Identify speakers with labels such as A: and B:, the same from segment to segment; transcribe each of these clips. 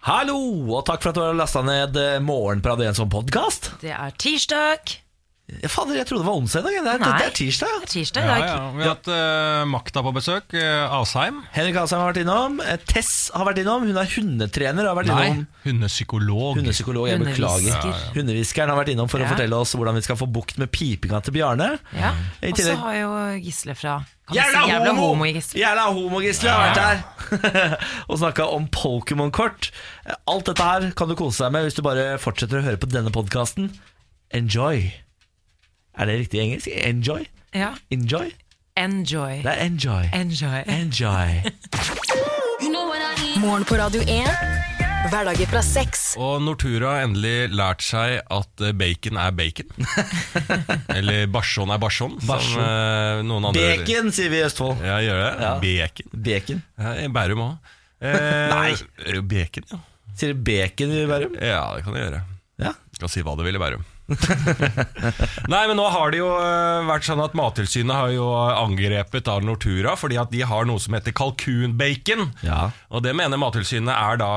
A: Hallo, og takk for at du har lasta ned eh, Morgenprat igjen som podkast.
B: Det er tirsdag.
A: Fader, jeg trodde det var onsdag i dag. Det er,
B: Nei.
A: det er tirsdag.
B: Det er tirsdag i
C: Ja,
B: dag.
C: ja. Vi har hatt eh, makta på besøk. eh, Asheim.
A: Henrik Asheim har vært innom. eh, Tess har vært innom. Hun er hundetrener. og Har vært innom
C: Hundepsykolog.
A: Hundepsykolog, jeg beklager.
B: Hundehvisker. Ja, ja.
A: Hundehviskeren har vært innom for
B: Ja.
A: å fortelle oss hvordan vi skal få bukt med pipinga til Bjarne.
B: Ja.
A: I
B: Og så
A: tillegg-
B: har jo Gisle fra kan vi
A: Jævla
B: si altså, jævla
A: homo!
B: homo Gisle.
A: Jævla homogisle har vært her og snakka om Pokémon-kort. Alt dette her kan du kose deg med hvis du bare fortsetter å høre på denne podkasten. Enjoy. Er det riktig engelsk? Enjoy?
B: Ja.
A: Enjoy?
B: Enjoy.
A: Det er enjoy.
B: Enjoy.
A: Enjoy.
D: Morgen på Radio 1. Hverdager fra seks.
C: Og Nortura har endelig lært seg at eh, bacon er bacon. Eller barson er barson,
A: Barson.
C: som eh, noen andre
A: Bacon, sier vi i Østfold.
C: Ja, gjør det. Bacon.
A: Bacon.
C: Ja, I Bærum òg. Eh, Nei. Bacon, ja.
A: Sier du bacon i Bærum?
C: Ja, det kan jeg gjøre.
A: Ja.
C: Du kan si hva du vil i Bærum. Nei, men nå har det jo eh, vært sånn at Mattilsynet har jo angrepet av Nortura fordi at de har noe som heter kalkunbacon.
A: Ja.
C: Og det mener Mattilsynet er da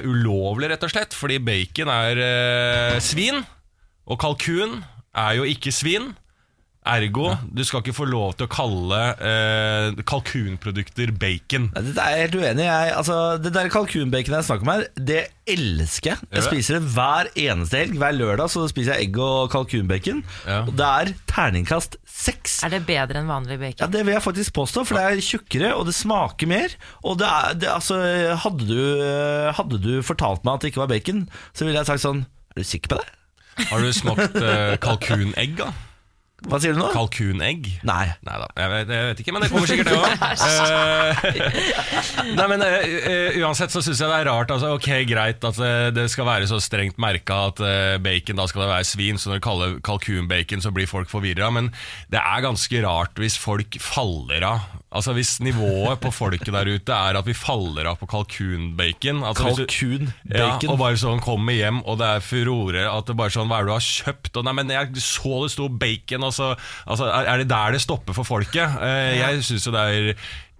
C: eh, ulovlig, rett og slett, fordi bacon er eh, svin, og kalkun er jo ikke svin. Ergo, du skal ikke få lov til å kalle eh, kalkunprodukter bacon.
A: Nei, Dette er jeg helt uenig i. Jeg- Altså, det der kalkunbaconet jeg snakker om her, det elsker jeg. Jeg
C: det?
A: spiser det hver eneste helg. Hver lørdag så spiser jeg egg og kalkunbacon.
C: Ja.
A: Og det er terningkast seks.
B: Er det bedre enn
A: Ja,
B: vanlig bacon?
A: Det vil jeg faktisk påstå, for det er tjukkere og det smaker mer. Og det er, det, altså, hadde, du, hadde du fortalt meg at det ikke var bacon, så ville jeg sagt sånn Er du sikker på det?
C: Har du smakt eh, kalkunegg, da?
A: Hva sier du nå?
C: Kalkunegg?
A: Nei.
C: Nei da, jeg vet, jeg vet ikke, men det kommer sikkert det òg. Nei, men eh, eh, uansett så syns jeg det er rart. Altså, ok, Greit at eh, det skal være så strengt merka at eh, bacon da skal det være svin, så når du kaller kalkunbacon, så blir folk forvirra. Men det er ganske rart hvis folk faller av. Altså Hvis nivået på folket der ute er at vi faller av på kalkunbacon altså, hvis du- ja,
A: Kalkunbacon.
C: og bare sånn kommer hjem, og det er furore. At det bare sånn, Hva er det du har kjøpt? Og nei, men jeg så det sto bacon, og så altså, er- Er det der det stopper for folket? Eh, Jeg syns jo det er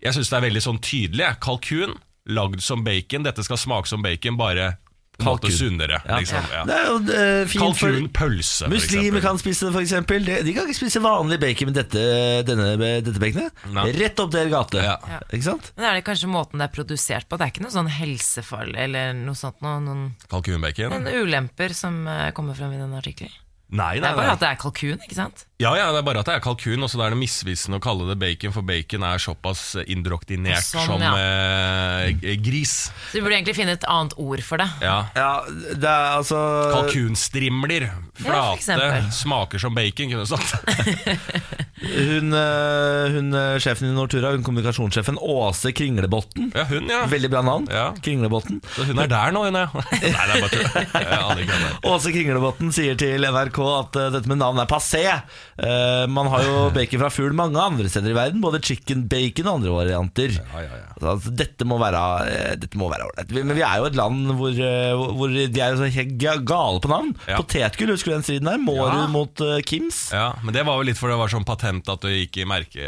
C: Jeg synes det er veldig sånn tydelig. jeg. Kalkun lagd som bacon. Dette skal smake som bacon, bare på en måte
A: Kalkun.
C: sunnere. Liksom, ja.
A: Det er jo eh, fint for-
C: Kalkunpølse, for
A: Muslimer
C: eksempel.
A: kan spise det, for eksempel. De, de kan ikke spise vanlig bacon med dette, denne, dette baconet.
C: Nei.
A: Rett opp deres gate.
C: Ja.
B: Ja.
A: Ikke sant?
B: Men er det kanskje måten det er produsert på? Det er ikke noe sånn helsefarlig eller noe sånt? Noen, noen,
C: Kalkunbacon?
B: noen ulemper som eh, kommer frem i den artikkelen?
C: Nei,
B: Det
C: nei,
B: er bare
C: nei.
B: at det er kalkun, ikke sant?
C: Ja, ja, det er bare at det er kalkun, og så er det misvisende å kalle det bacon, for bacon er såpass indoktinert
B: Sånn,
C: som
B: ja.
C: eh, gris.
B: Så vi burde egentlig finne et annet ord for det.
C: Ja.
A: Ja, det er altså
C: Kalkunstrimler.
B: for
C: Flate.
B: eksempel.
C: smaker som bacon, kunne det stått.
A: hun, eh, hun eh, sjefen i Nortura, hun kommunikasjonssjefen Åse Kringlebotn.
C: Ja, hun, ja.
A: Veldig bra navn.
C: Ja.
A: Kringlebotn.
C: Så hun er der nå, hun, ja. Nei, det er bare tull. Jeg aner ikke hva det er.
A: Åse Kringlebotn sier til NRK at eh, dette med navn er passé. Eh, man har jo bacon fra fugl mange andre steder i verden, både chicken bacon og andre varianter.
C: ja, ja.
A: Altså, altså, dette må være eh, Dette må være ålreit. Vi- Men vi er jo et land hvor, eh, hvor- hvor de er jo så helt ga- gale på navn.
C: Ja.
A: Potetgull, husker du den striden der? Mårud
C: Ja.
A: mot eh, Kims.
C: Ja, men det var jo litt for det var sånn patent at det gikk i merke...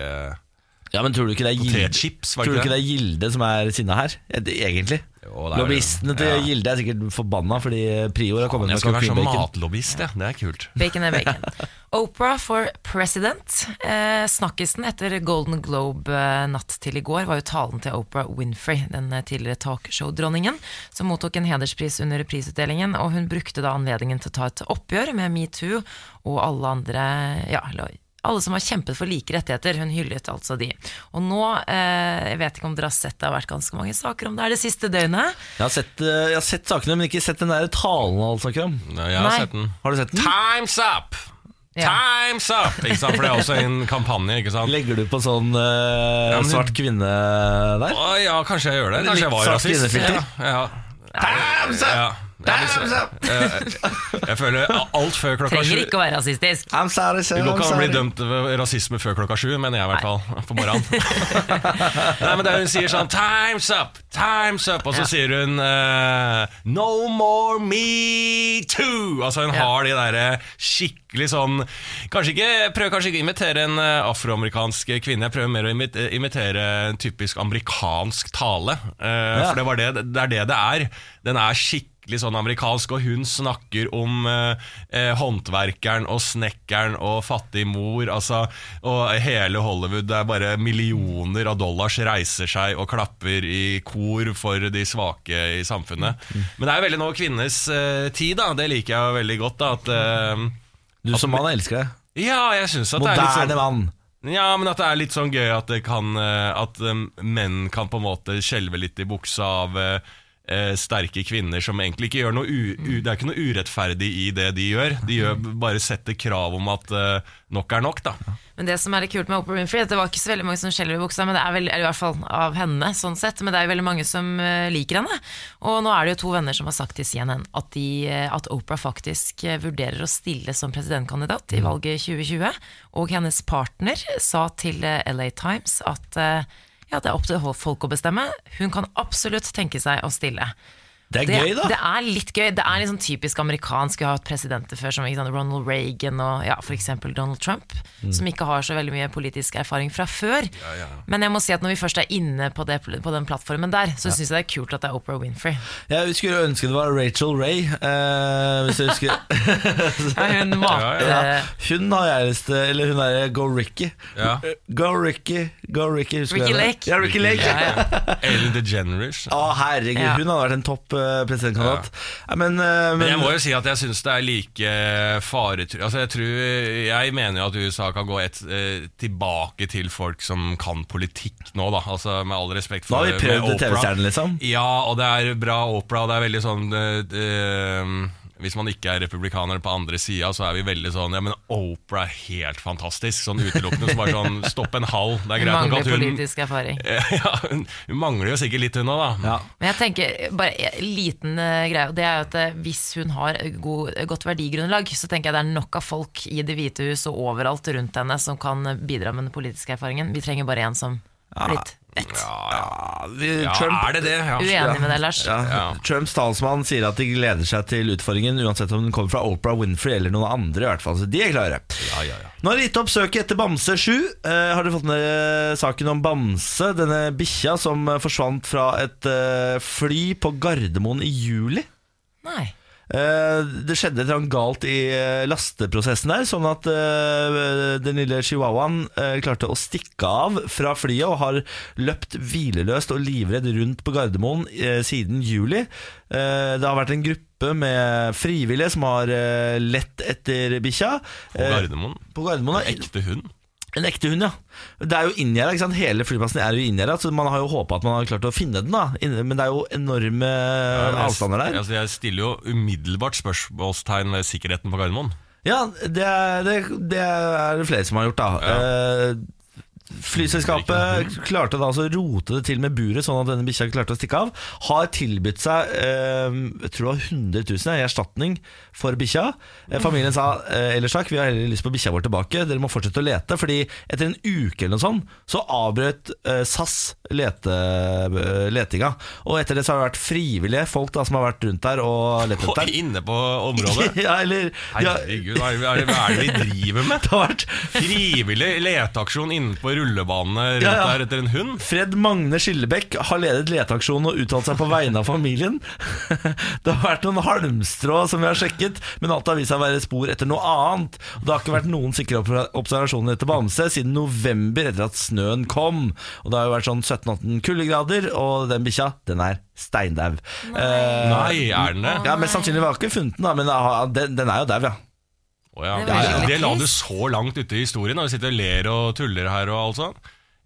A: Ja, men tror du ikke det er Gilde,
C: Potetchips, var
A: tror du
C: det ikke
A: ikke det
C: det?
A: er Gilde som er sinna her? Eh, det- Egentlig.
C: Jo, det er
A: Lobbyistene
C: det.
A: til
C: Ja.
A: Gilde er sikkert forbanna fordi eh, Prior har kommet
C: Men
A: med
C: jeg skulle vært sånn
A: kalkunbacon.
C: matlobbyist, ja. Det er kult.
B: Bacon er bacon. Oprah for president. Eh, snakkisen etter Golden Globe eh, natt til i går var jo talen til Oprah Winfrey, den eh, tidligere talkshow-dronningen, som mottok en hederspris under prisutdelingen. Og hun brukte da anledningen til å ta et oppgjør med metoo og alle andre ja, eller alle som har kjempet for like rettigheter. Hun hyllet altså de. Og nå, eh, jeg vet ikke om dere har sett det har vært ganske mange saker om det her det siste døgnet.
A: Jeg har, sett, eh, jeg har sett sakene, men ikke sett den der talen alle snakker om.
C: Nei, Jeg har
B: Nei.
C: sett den.
A: Har du sett den?
C: Time's up!
B: Ja.
C: Time's up! Ikke sant? For det er også en kampanje, ikke sant?
A: Legger du på sånn eh,
C: men-
A: svart kvinne der?
C: Å, ja, kanskje jeg gjør det.
A: Litt
C: Kanskje jeg var
A: svart
C: rasist.
A: kvinnefilter.
C: Ja, ja.
A: Time's up!
C: Ja. Ja, men
A: Time's
C: så-
A: up!
C: jeg, jeg føler alt før klokka sju
B: Trenger ikke å være rasistisk.
A: I'm sorry, sir.
C: Du går
A: I'm
C: ikke an å bli
A: sorry.
C: dømt ved rasisme før klokka sju, mener jeg i hvert fall. På morgenen. Nei, men det Hun sier sånn 'Time's up! Time's up!' Og så sier hun eh, 'No more me too!' Altså Hun
B: Ja.
C: har de derre skikkelig sånn Kanskje ikke Prøv kanskje ikke å imitere en eh, afroamerikansk kvinne. Jeg prøver mer å imit- eh, imitere en typisk amerikansk tale. Eh, For det, var det, det er det det er. Den er skikkelig sånn amerikansk, og hun snakker om eh, eh, håndverkeren og snekkeren og fattig mor. Altså, og hele Hollywood, det er bare millioner av dollars reiser seg og klapper i kor for de svake i samfunnet. Men det er jo veldig nå kvinnenes eh, tid, da. Det liker jeg jo veldig godt. da at... eh,
A: Du som mann elsker det.
C: ja, jeg syns at det er litt sånn
A: Moderne mann.
C: ja, men at det er litt sånn gøy at, det kan, eh, at eh, menn kan på en måte skjelve litt i buksa av eh, eh, sterke kvinner som egentlig ikke gjør noe u, u, Det er ikke noe urettferdig i det de gjør. De gjør bare setter krav om at eh, nok er nok, da.
B: Men det som er litt kult med Oprah Winfrey, er at det var ikke så veldig mange som skjelver i buksa, men det er vel, eller i hvert fall av henne, sånn sett, men det er jo veldig mange som eh, liker henne. Og nå er det jo to venner som har sagt til CNN at, de, eh, at Oprah faktisk eh, vurderer å stille som presidentkandidat i valget 2020, og hennes partner sa til eh, LA Times at eh, ja, det er opp til folk å bestemme. Hun kan absolutt tenke seg å stille.
A: Det er
B: Det,
A: gøy, da.
B: det er litt gøy. Det er litt sånn typisk amerikansk. Vi har hatt presidenter før som ikke sant, Ronald Reagan og ja, f.eks. Donald Trump, som ikke har så veldig mye politisk erfaring fra før. Men jeg må si at når vi først er inne på, det, på den plattformen der, så synes syns jeg det er kult at det er Oprah Winfrey.
A: Jeg skulle ønske det var Rachel Ray. eh, hvis jeg husker
B: hun eh, mat,
A: ja. Hun har jeg lyst til Eller hun er Go Ricky.
C: Ja.
A: Go Ricky, Go Ricky. husker
B: Ricky
A: du henne?
B: Lake.
A: Ja, Ricky Lake.
C: Ellen DeGeneres.
A: Å, herregud,
B: Ja.
A: hun hadde vært en topp eh, presidentkandidat. Nei, Men, eh,
C: Men
A: men
C: jeg må jo si at jeg syns det er like faretru... Altså jeg, tror, jeg mener jo at USA kan gå et, eh, tilbake til folk som kan politikk nå, da. Altså Med all respekt
A: Nå
C: for
A: har vi prøvd
C: med Oprah.
A: TV-stjernen, liksom.
C: Ja, og det er bra Oprah. og Det er veldig sånn eh, eh, Hvis man ikke er republikaner på andre sida, så er vi veldig sånn Ja, men Oprah er helt fantastisk. Sånn utelukkende som bare sånn Stopp en hall. Det
B: Hun
C: er greit nok
B: mangler
C: at hun
B: politisk erfaring.
C: ja, hun, hun mangler jo sikkert litt, hun òg, da.
A: ja.
B: Men jeg tenker bare en liten eh, greie, og det er jo at eh, hvis hun har god, godt verdigrunnlag, så tenker jeg det er nok av folk i Det hvite hus og overalt rundt henne som kan bidra med den politiske erfaringen. Vi trenger bare en som er litt vett.
A: Ja, vi,
C: Ja,
A: Trump,
C: er det det? Ja.
B: Uenig med deg, Lars.
A: Ja.
C: Ja.
A: Trumps talsmann sier at de gleder seg til utfordringen, uansett om den kommer fra Oprah Winfrey eller noen andre. i hvert fall, så de er klare.
C: Ja, ja, ja.
A: Nå har de gitt opp søket etter Bamse 7. Eh, har dere fått med dere saken om Bamse, denne bikkja som eh, forsvant fra et eh, fly på Gardermoen i juli?
B: Nei.
A: Eh, Det skjedde et eller annet galt i eh, lasteprosessen der, sånn at eh, den lille chihuahuaen eh, klarte å stikke av fra flyet og har løpt hvileløst og livredd rundt på Gardermoen eh, siden juli. Eh, Det har vært en gruppe med frivillige som har eh, lett etter bikkja.
C: På
A: Eh,
C: Gardermoen.
A: På Gardermoen, da.
C: Ekte hund.
A: En ekte hund, ja. Det er jo inngjerda, ikke sant. Hele flyplassen er jo inngjerda, så man har jo håpa at man har klart å finne den, da. Inne- Men det er jo enorme eh, avstander der.
C: Altså, jeg stiller jo umiddelbart spørsmålstegn ved sikkerheten på Gardermoen.
A: Ja, det er det, det er det flere som har gjort, da. Eh, flyselskapet klarte da altså å rote det til med buret, sånn at denne bikkja klarte å stikke av. Har tilbudt seg eh, jeg tror det var 100 000 jeg, i erstatning for bikkja. Eh, Familien sa eh, ellers takk, vi har heller lyst på bikkja vår tilbake, dere må fortsette å lete. Fordi etter en uke eller noe sånt, så avbrøt eh, SAS lete, eh, letinga. Og etter det så har det vært frivillige folk da som har vært rundt der og lett
C: Og
A: etter.
C: inne på området.
A: Ja, eller de har-
C: Herregud, hva er det- hva er det- hva er det vi driver med?
A: det har vært
C: Frivillig leteaksjon inne på rullebanene rundt
A: Ja, ja.
C: der etter en hund?
A: Fred Magne Skillebekk har ledet leteaksjonen og uttalt seg på vegne av familien. Det har vært noen halmstrå som vi har sjekket, men alt har vist seg å være spor etter noe annet. Og det har ikke vært noen sikre opp- observasjoner etter Bamse siden november, etter at snøen kom. Og det har jo vært sånn 17-18 kuldegrader, og den bikkja, den er steindau. Eh,
C: Nei, er den det?
A: ja, Mest sannsynlig var det ikke funnet den, da, men ah, den, den er jo dau, ja.
C: Å ja.
B: Det var
C: det,
B: skikkelig
C: det la du
B: trist.
C: så langt ute i historien, og vi sitter og ler og tuller her og alt sånn.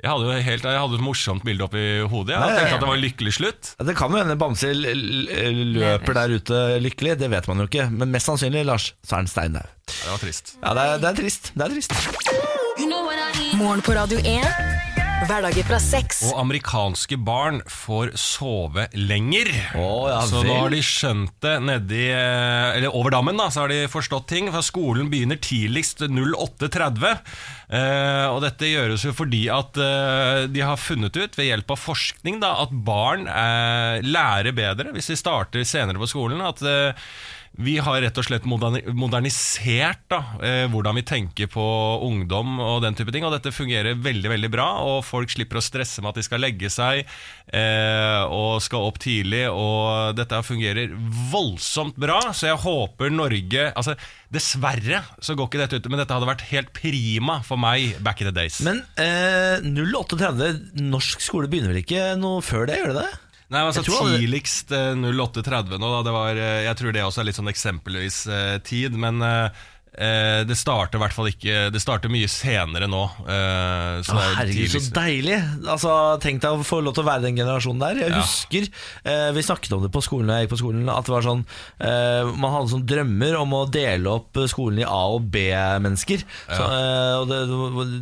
C: Jeg hadde jo helt, jeg hadde et morsomt bilde oppi hodet. Jeg
A: Nei,
C: tenkte
A: ja.
C: at det var en lykkelig slutt.
A: Ja, Det kan jo hende Bamse l- l- løper
B: Lever.
A: der ute lykkelig, det vet man jo ikke. Men mest sannsynlig, Lars, så er den steindau.
C: Det var trist.
A: Ja, det er, det er trist. Det er trist.
D: Morgen på Radio 1. Hverdager fra seks.
C: Og amerikanske barn får sove lenger.
A: Å, ja vel.
C: så nå har de skjønt det nedi eh, Eller over dammen, da, så har de forstått ting. For skolen begynner tidligst 08.30. Eh, og dette gjøres jo fordi at eh, de har funnet ut, ved hjelp av forskning, da, at barn eh, lærer bedre hvis de starter senere på skolen. At eh, vi har rett og slett moderni modernisert da, eh, hvordan vi tenker på ungdom og den type ting. Og dette fungerer veldig veldig bra, og folk slipper å stresse med at de skal legge seg eh, og skal opp tidlig. Og dette her fungerer voldsomt bra, så jeg håper Norge altså, Dessverre så går ikke dette ut, men dette hadde vært helt prima for meg back in the days.
A: Men eh, 08.30 Norsk skole begynner vel ikke noe før det, gjør det det?
C: Nei, men altså
A: Jeg tror aldri-
C: Tidligst eh, 08.30 nå, da. Det var, eh, jeg tror det også er litt sånn eksempelvis eh, tid. Men eh, eh, det starter i hvert fall ikke Det starter mye senere nå. eh, så
A: Å,
C: det er
A: herregud, så
C: tidligst.
A: deilig! Altså, Tenk deg å få lov til å være den generasjonen der. Jeg husker eh, Vi snakket om det på skolen da jeg gikk på skolen. At det var sånn eh, Man hadde sånn drømmer om å dele opp skolen i A- og B-mennesker. Så, eh, og det,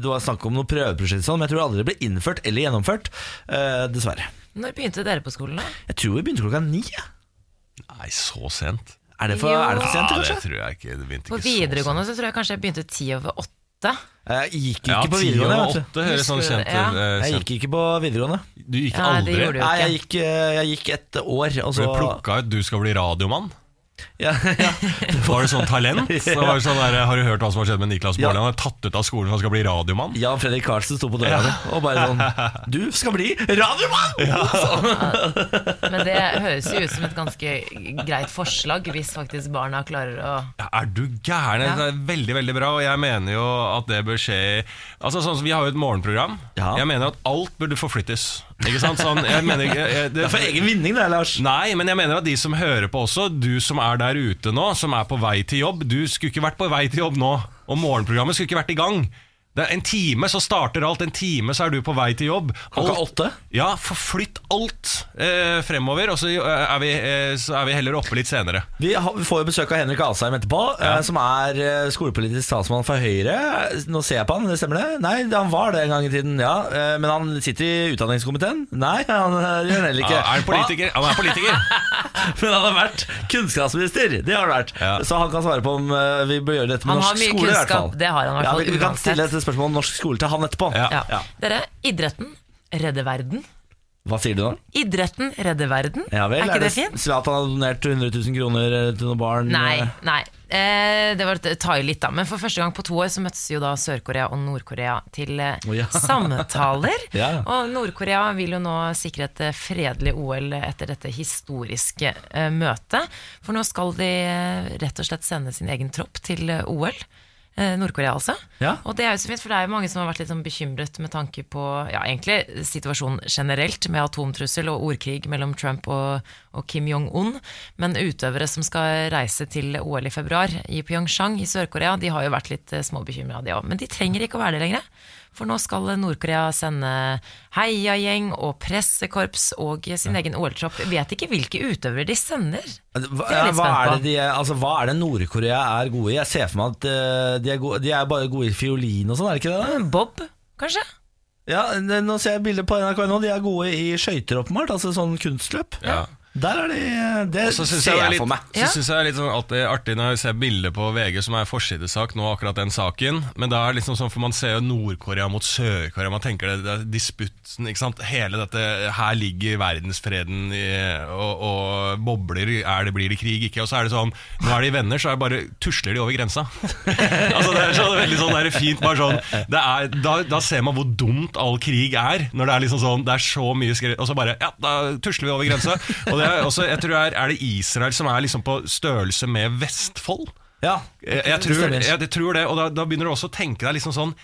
A: det var snakk om noe prøveprosjekt, og sånn, men jeg tror det aldri ble innført eller gjennomført. Eh, dessverre.
B: Når begynte dere på skolen? da?
A: Jeg tror vi begynte klokka ni. jeg.
C: Nei, så sent?
A: Er det for, er det for sent,
C: Ja, det
A: kanskje?
C: tror jeg ikke. Det begynte
B: På
C: ikke så sent.
B: videregående så tror jeg kanskje jeg begynte ti over åtte.
A: Eh, Jeg gikk ikke
C: Ja,
A: på
C: ti
A: videregående.
C: og
A: vet du.
C: åtte høres sånn
B: Husker du det?
C: kjent
B: Ja.
C: ut. eh,
A: Jeg
C: kjent.
A: gikk ikke på videregående.
C: Du gikk
B: Nei, det
C: aldri?
B: gjorde du
A: Nei, jeg
B: ikke.
A: gikk, eh, jeg gikk et år, og
C: Ble
A: så
C: plukka ut 'du skal bli radiomann'?
A: ja, ja.
C: Var det sånn talent? Så var det sånn der, har du hørt hva som har skjedd med Niklas
A: Ja.
C: Baarli? Han er tatt ut av skolen, for han skal bli radiomann.
A: Jan Fredrik Karlsen sto på døra mi og bare sånn Du skal bli radiomann!
B: Men det høres jo ut som et ganske greit forslag, hvis faktisk barna klarer å
C: Ja, Er du gæren?
B: Ja.
C: Det er veldig, veldig bra, og jeg mener jo at det bør skje i- Altså, sånn som Vi har jo et morgenprogram.
A: Ja.
C: Jeg mener at alt burde forflyttes. Ikke sant? Sånn, jeg mener ikke jeg- det-
A: Det er for egen vinning, det, Lars.
C: Nei, men jeg mener at de som hører på også, du som er der ute nå, som er på vei til jobb, du skulle ikke vært på vei til jobb nå, og morgenprogrammet skulle ikke vært i gang. Det er en time så starter alt, en time så er du på vei til jobb.
A: Klokka
C: Alt-
A: åtte?
C: Ja, forflytt alt eh, fremover, og så eh, er, vi, eh, så er vi heller oppe litt senere.
A: Vi har- vi får jo besøk av Henrik Asheim etterpå, eh, som er eh, skolepolitisk talsmann for Høyre. Nå ser jeg på han, det stemmer det? Nei, det- han var det en gang i tiden, ja. Eh, Men han sitter i utdanningskomiteen? Nei, han eh, gjør det heller ikke.
C: Ja, er han politiker? Han er politiker.
A: Ah, Men han har vært kunnskapsminister, det har han vært.
C: Ja.
A: Så han kan svare på om eh, vi bør gjøre dette med
B: Han har
A: norsk
B: mye
A: skole, i hvert
B: kunnskap,
A: fall.
B: det har han i hvert
A: Ja,
B: fall,
A: vi, vi kan
B: uansett.
A: stille et spørsmål om norsk skole til han etterpå.
C: Ja.
B: ja.
A: Ja.
B: Dere, idretten redder verden.
A: Hva sier du nå?
B: Idretten redder verden.
A: Ja vel,
B: er ikke det fint?
A: Zlatan har donert 100 000 kroner eh, til noen barn.
B: Nei. nei eh, Det var å ta i litt, da. Men for første gang på to år så møttes jo da Sør-Korea og Nord-Korea til eh,
A: Å, ja.
B: samtaler.
A: Ja.
B: Og Nord-Korea vil jo nå sikre et eh, fredelig OL etter dette historiske eh, møtet. For nå skal de eh, rett og slett sende sin egen tropp til eh, OL. Eh, Nord-Korea, altså.
A: Ja.
B: Og det er jo så fint, for det er jo mange som har vært litt sånn bekymret med tanke på ja, egentlig situasjonen generelt, med atomtrussel og ordkrig mellom Trump og, og Kim Jong-un. Men utøvere som skal reise til OL i februar i Pyeongchang i Sør-Korea, de har jo vært litt eh, småbekymra, de òg. Men de trenger ikke å være det lenger. For nå skal Nord-Korea sende heiagjeng og pressekorps og sin egen OL-tropp. Vet ikke hvilke utøvere de sender.
A: Hva,
B: er jeg
A: ja,
B: litt
A: hva,
B: spent
A: er
B: på.
A: det de, er- altså, hva er det Nord-Korea er gode i? Jeg ser for meg at eh, de, er gode, de er bare gode i fiolin og sånn, er det ikke det? da?
B: Bob, kanskje?
A: Ja, det- Nå ser jeg bilder på NRK nå, de er gode i skøyter åpenbart, altså sånn kunstløp.
C: Ja.
A: Der er de eh, Det
C: Og så syns
A: ser jeg,
C: jeg, det er litt-
A: for meg.
B: Ja.
C: så synes jeg det er litt sånn alltid artig når jeg ser bilder på VG som er forsidesak nå, akkurat den saken. Men da er det liksom sånn, for man ser jo Nord-Korea mot Sør-Korea, man tenker det, det er disputten, ikke sant. Hele dette Her ligger verdensfreden i, og, og bobler. Er det, blir det krig, ikke? Og så er det sånn, nå er de venner, så er det bare tusler de over grensa. altså Det er så veldig sånn, det er fint. bare sånn det er, da, da ser man hvor dumt all krig er, når det er liksom sånn Det er så mye skre- og så bare Ja, da tusler vi over grensa. Og det er også, jeg tror det er, er det Israel som er liksom på størrelse med Vestfold?
A: Ja,
C: Jeg, jeg,
A: det
C: tror,
A: stemmer.
C: jeg, jeg tror det, og da, da begynner du også å tenke deg liksom sånn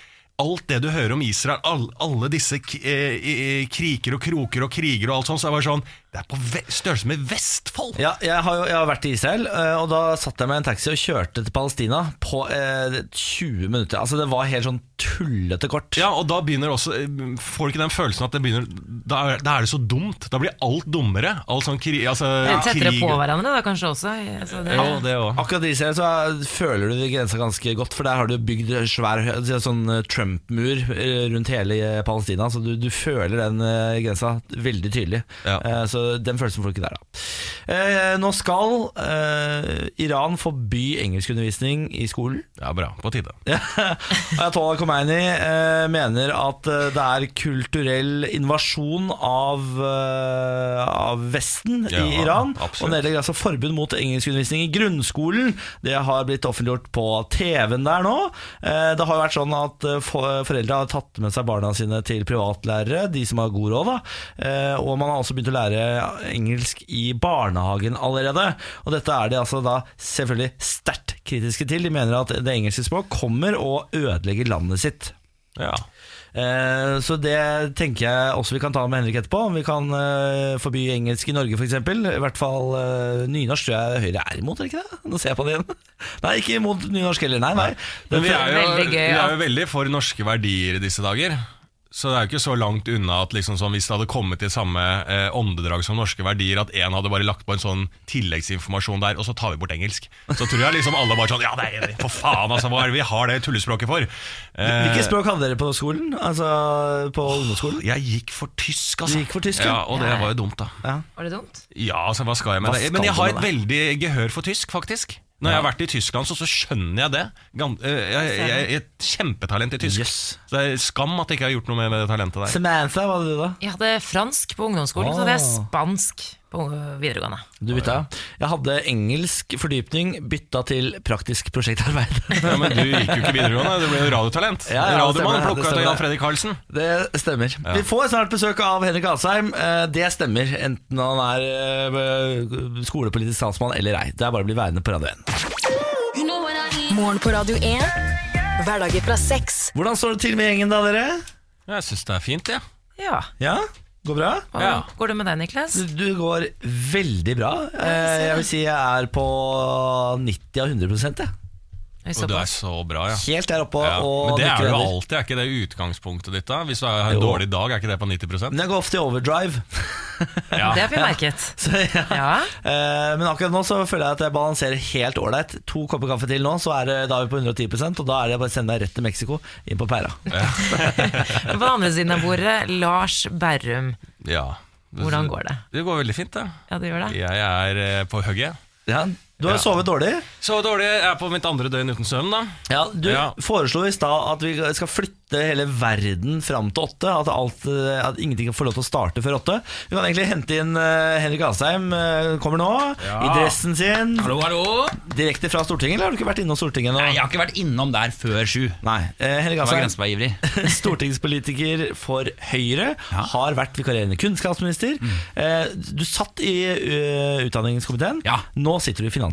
C: Alt det du hører om Israel, all, alle disse k eh, eh, kriker og kroker og kriger og alt sånt, så er det bare sånn Det er på ve størrelse med Vestfold!
A: Ja, jeg har jo jeg har vært i Israel, eh, og da satt jeg med en taxi og kjørte til Palestina på eh, 20 minutter. Altså Det var helt sånn tullete kort.
C: Ja, og da begynner også eh, Får du ikke den følelsen at det begynner da er, da er det så dumt. Da blir alt dummere. Alt sånn kri, altså,
B: Tettere
C: krig-
B: på hverandre da, kanskje også. Så det,
C: Jo, det også.
A: Akkurat i Israel så eh, føler du de grensa ganske godt, for der har du bygd svær hø- sånn eh, Trump-mur eh, rundt hele eh, Palestina, så du, du føler den eh, grensa veldig tydelig.
C: Ja.
A: Eh, Så den følelsen får du ikke der, da. Eh, Nå skal eh, Iran forby engelskundervisning i skolen.
C: Ja, bra. På tide.
A: Ayatollah Khomeini eh, mener at eh, det er kulturell invasjon av, eh, av Vesten
C: Ja,
A: i Iran.
C: absolutt.
A: Og det gjelder altså forbud mot engelskundervisning i grunnskolen. Det har blitt offentliggjort på TV-en der nå. Eh, det har jo vært sånn at eh, for- foreldre har tatt med seg barna sine til privatlærere, de som har god råd, da. Eh, og man har også begynt å lære engelsk i barnehagen allerede. Og dette er de altså da selvfølgelig sterkt kritiske til. De mener at det engelske språk kommer og ødelegger landet sitt.
C: Ja.
A: Eh, Så det tenker jeg også vi kan ta med Henrik etterpå. Om vi kan eh, forby engelsk i Norge, f.eks. I hvert fall eh, nynorsk tror jeg Høyre er imot, er det ikke det? Nå ser jeg på det igjen. Nei, ikke imot nynorsk heller, nei. nei.
C: Men vi
A: Det-
C: er, jo,
B: Veldig gøy,
C: vi
B: ja.
C: er jo veldig for norske verdier i disse dager. Så det er jo ikke så langt unna at liksom sånn, hvis det hadde kommet i samme eh, åndedrag som norske verdier, at én hadde bare lagt på en sånn tilleggsinformasjon der, og så tar vi bort engelsk. Så tror jeg liksom alle bare sånn Ja, det er enig. For faen, altså. Hva er det vi har det tullespråket for? Eh,
A: Hvilke språk hadde dere på skolen? Altså på ungdomsskolen?
C: jeg gikk for tysk, altså.
A: Du gikk for tysk,
C: ja,
A: ja.
C: Og det var jo dumt, da.
B: var det dumt?
C: Ja, altså, hva skal jeg med
A: Hva
C: det?
A: skal
C: Men jeg
A: du
C: har
A: med
C: et veldig gehør for tysk, faktisk. Når jeg har vært i Tyskland, så, så skjønner jeg det. Gan- eh, Jeg, jeg, jeg er et kjempetalent i tysk.
A: Yes.
C: Så det er skam at jeg ikke har gjort noe med med det talentet der.
A: Samantha, hva hadde du da?
B: Jeg hadde fransk på ungdomsskolen, så hadde jeg
A: Ah.
B: spansk på øh, videregående.
A: Du bytta? Jeg hadde engelsk fordypning bytta til praktisk prosjektarbeid.
C: Ja, men du gikk jo ikke videregående, du ble jo radiotalent.
A: Ja, ja, det
C: Radiomann
A: stemmer, det
C: plukka ut av
A: stemmer.
C: Jan Fredrik Karlsen.
A: Det stemmer. Vi får snart besøk av Henrik Asheim. Eh, Det stemmer, enten han er eh, skolepolitisk talsmann eller ei. Det er bare å bli værende på Radio 1.
D: Morgen på Radio 1. Hverdager fra seks.
A: Hvordan står det til med gjengen da, dere?
C: Jeg syns det er fint, jeg.
B: Ja.
A: Ja? Går bra?
B: Hva
C: Ja.
B: går det med deg, Niklas?
A: Du, du går veldig bra. Eh, Jeg vil si jeg er på 90 av 100 jeg.
B: Vi så
C: Og du
B: på.
C: er så bra, ja.
A: Helt der oppe
C: ja.
A: og
C: Men det er
A: nikker
C: du
A: under.
C: alltid, er ikke det utgangspunktet ditt da? Hvis du har en
A: Jo.
C: dårlig dag, er ikke det på 90
A: Men jeg går ofte i overdrive.
C: Ja.
B: Det har vi merket.
A: Så, ja.
B: Ja.
A: Eh, Men akkurat nå så føler jeg at jeg balanserer helt ålreit. To kopper kaffe til nå, så er det, da er vi på 110 og da er det bare å sende deg rett til Mexico, inn på pæra.
B: Men På den andre siden av bordet, Lars Berrum.
C: ja.
B: Hvordan går det?
C: Det går veldig fint, det.
B: Ja, det gjør det.
C: Jeg er eh, på hugget.
A: Ja, du har
C: Ja.
A: sovet dårlig.
C: Så dårlig. Jeg er på mitt andre døgn uten søvn, da.
A: Ja, du
C: Ja.
A: foreslo i stad at vi skal flytte hele verden fram til åtte. At, alt, eh, at ingenting kan få lov til å starte før åtte. Vi kan egentlig hente inn eh, Henrik Asheim. eh, Kommer nå, i dressen sin.
E: Hallo, hallo.
A: Direkte fra Stortinget, eller har du ikke vært innom Stortinget nå?
E: Nei, jeg har ikke vært innom der før sju. Det
A: Nei. Eh, Henrik
C: Altså-
E: var
A: Asheim,
E: grensebærivrig.
A: stortingspolitiker for Høyre. Har vært vikarierende kunnskapsminister.
E: Mm.
A: Eh, Du satt i eh, utdanningskomiteen.
E: Ja.
A: Nå sitter du i finanskomiteen.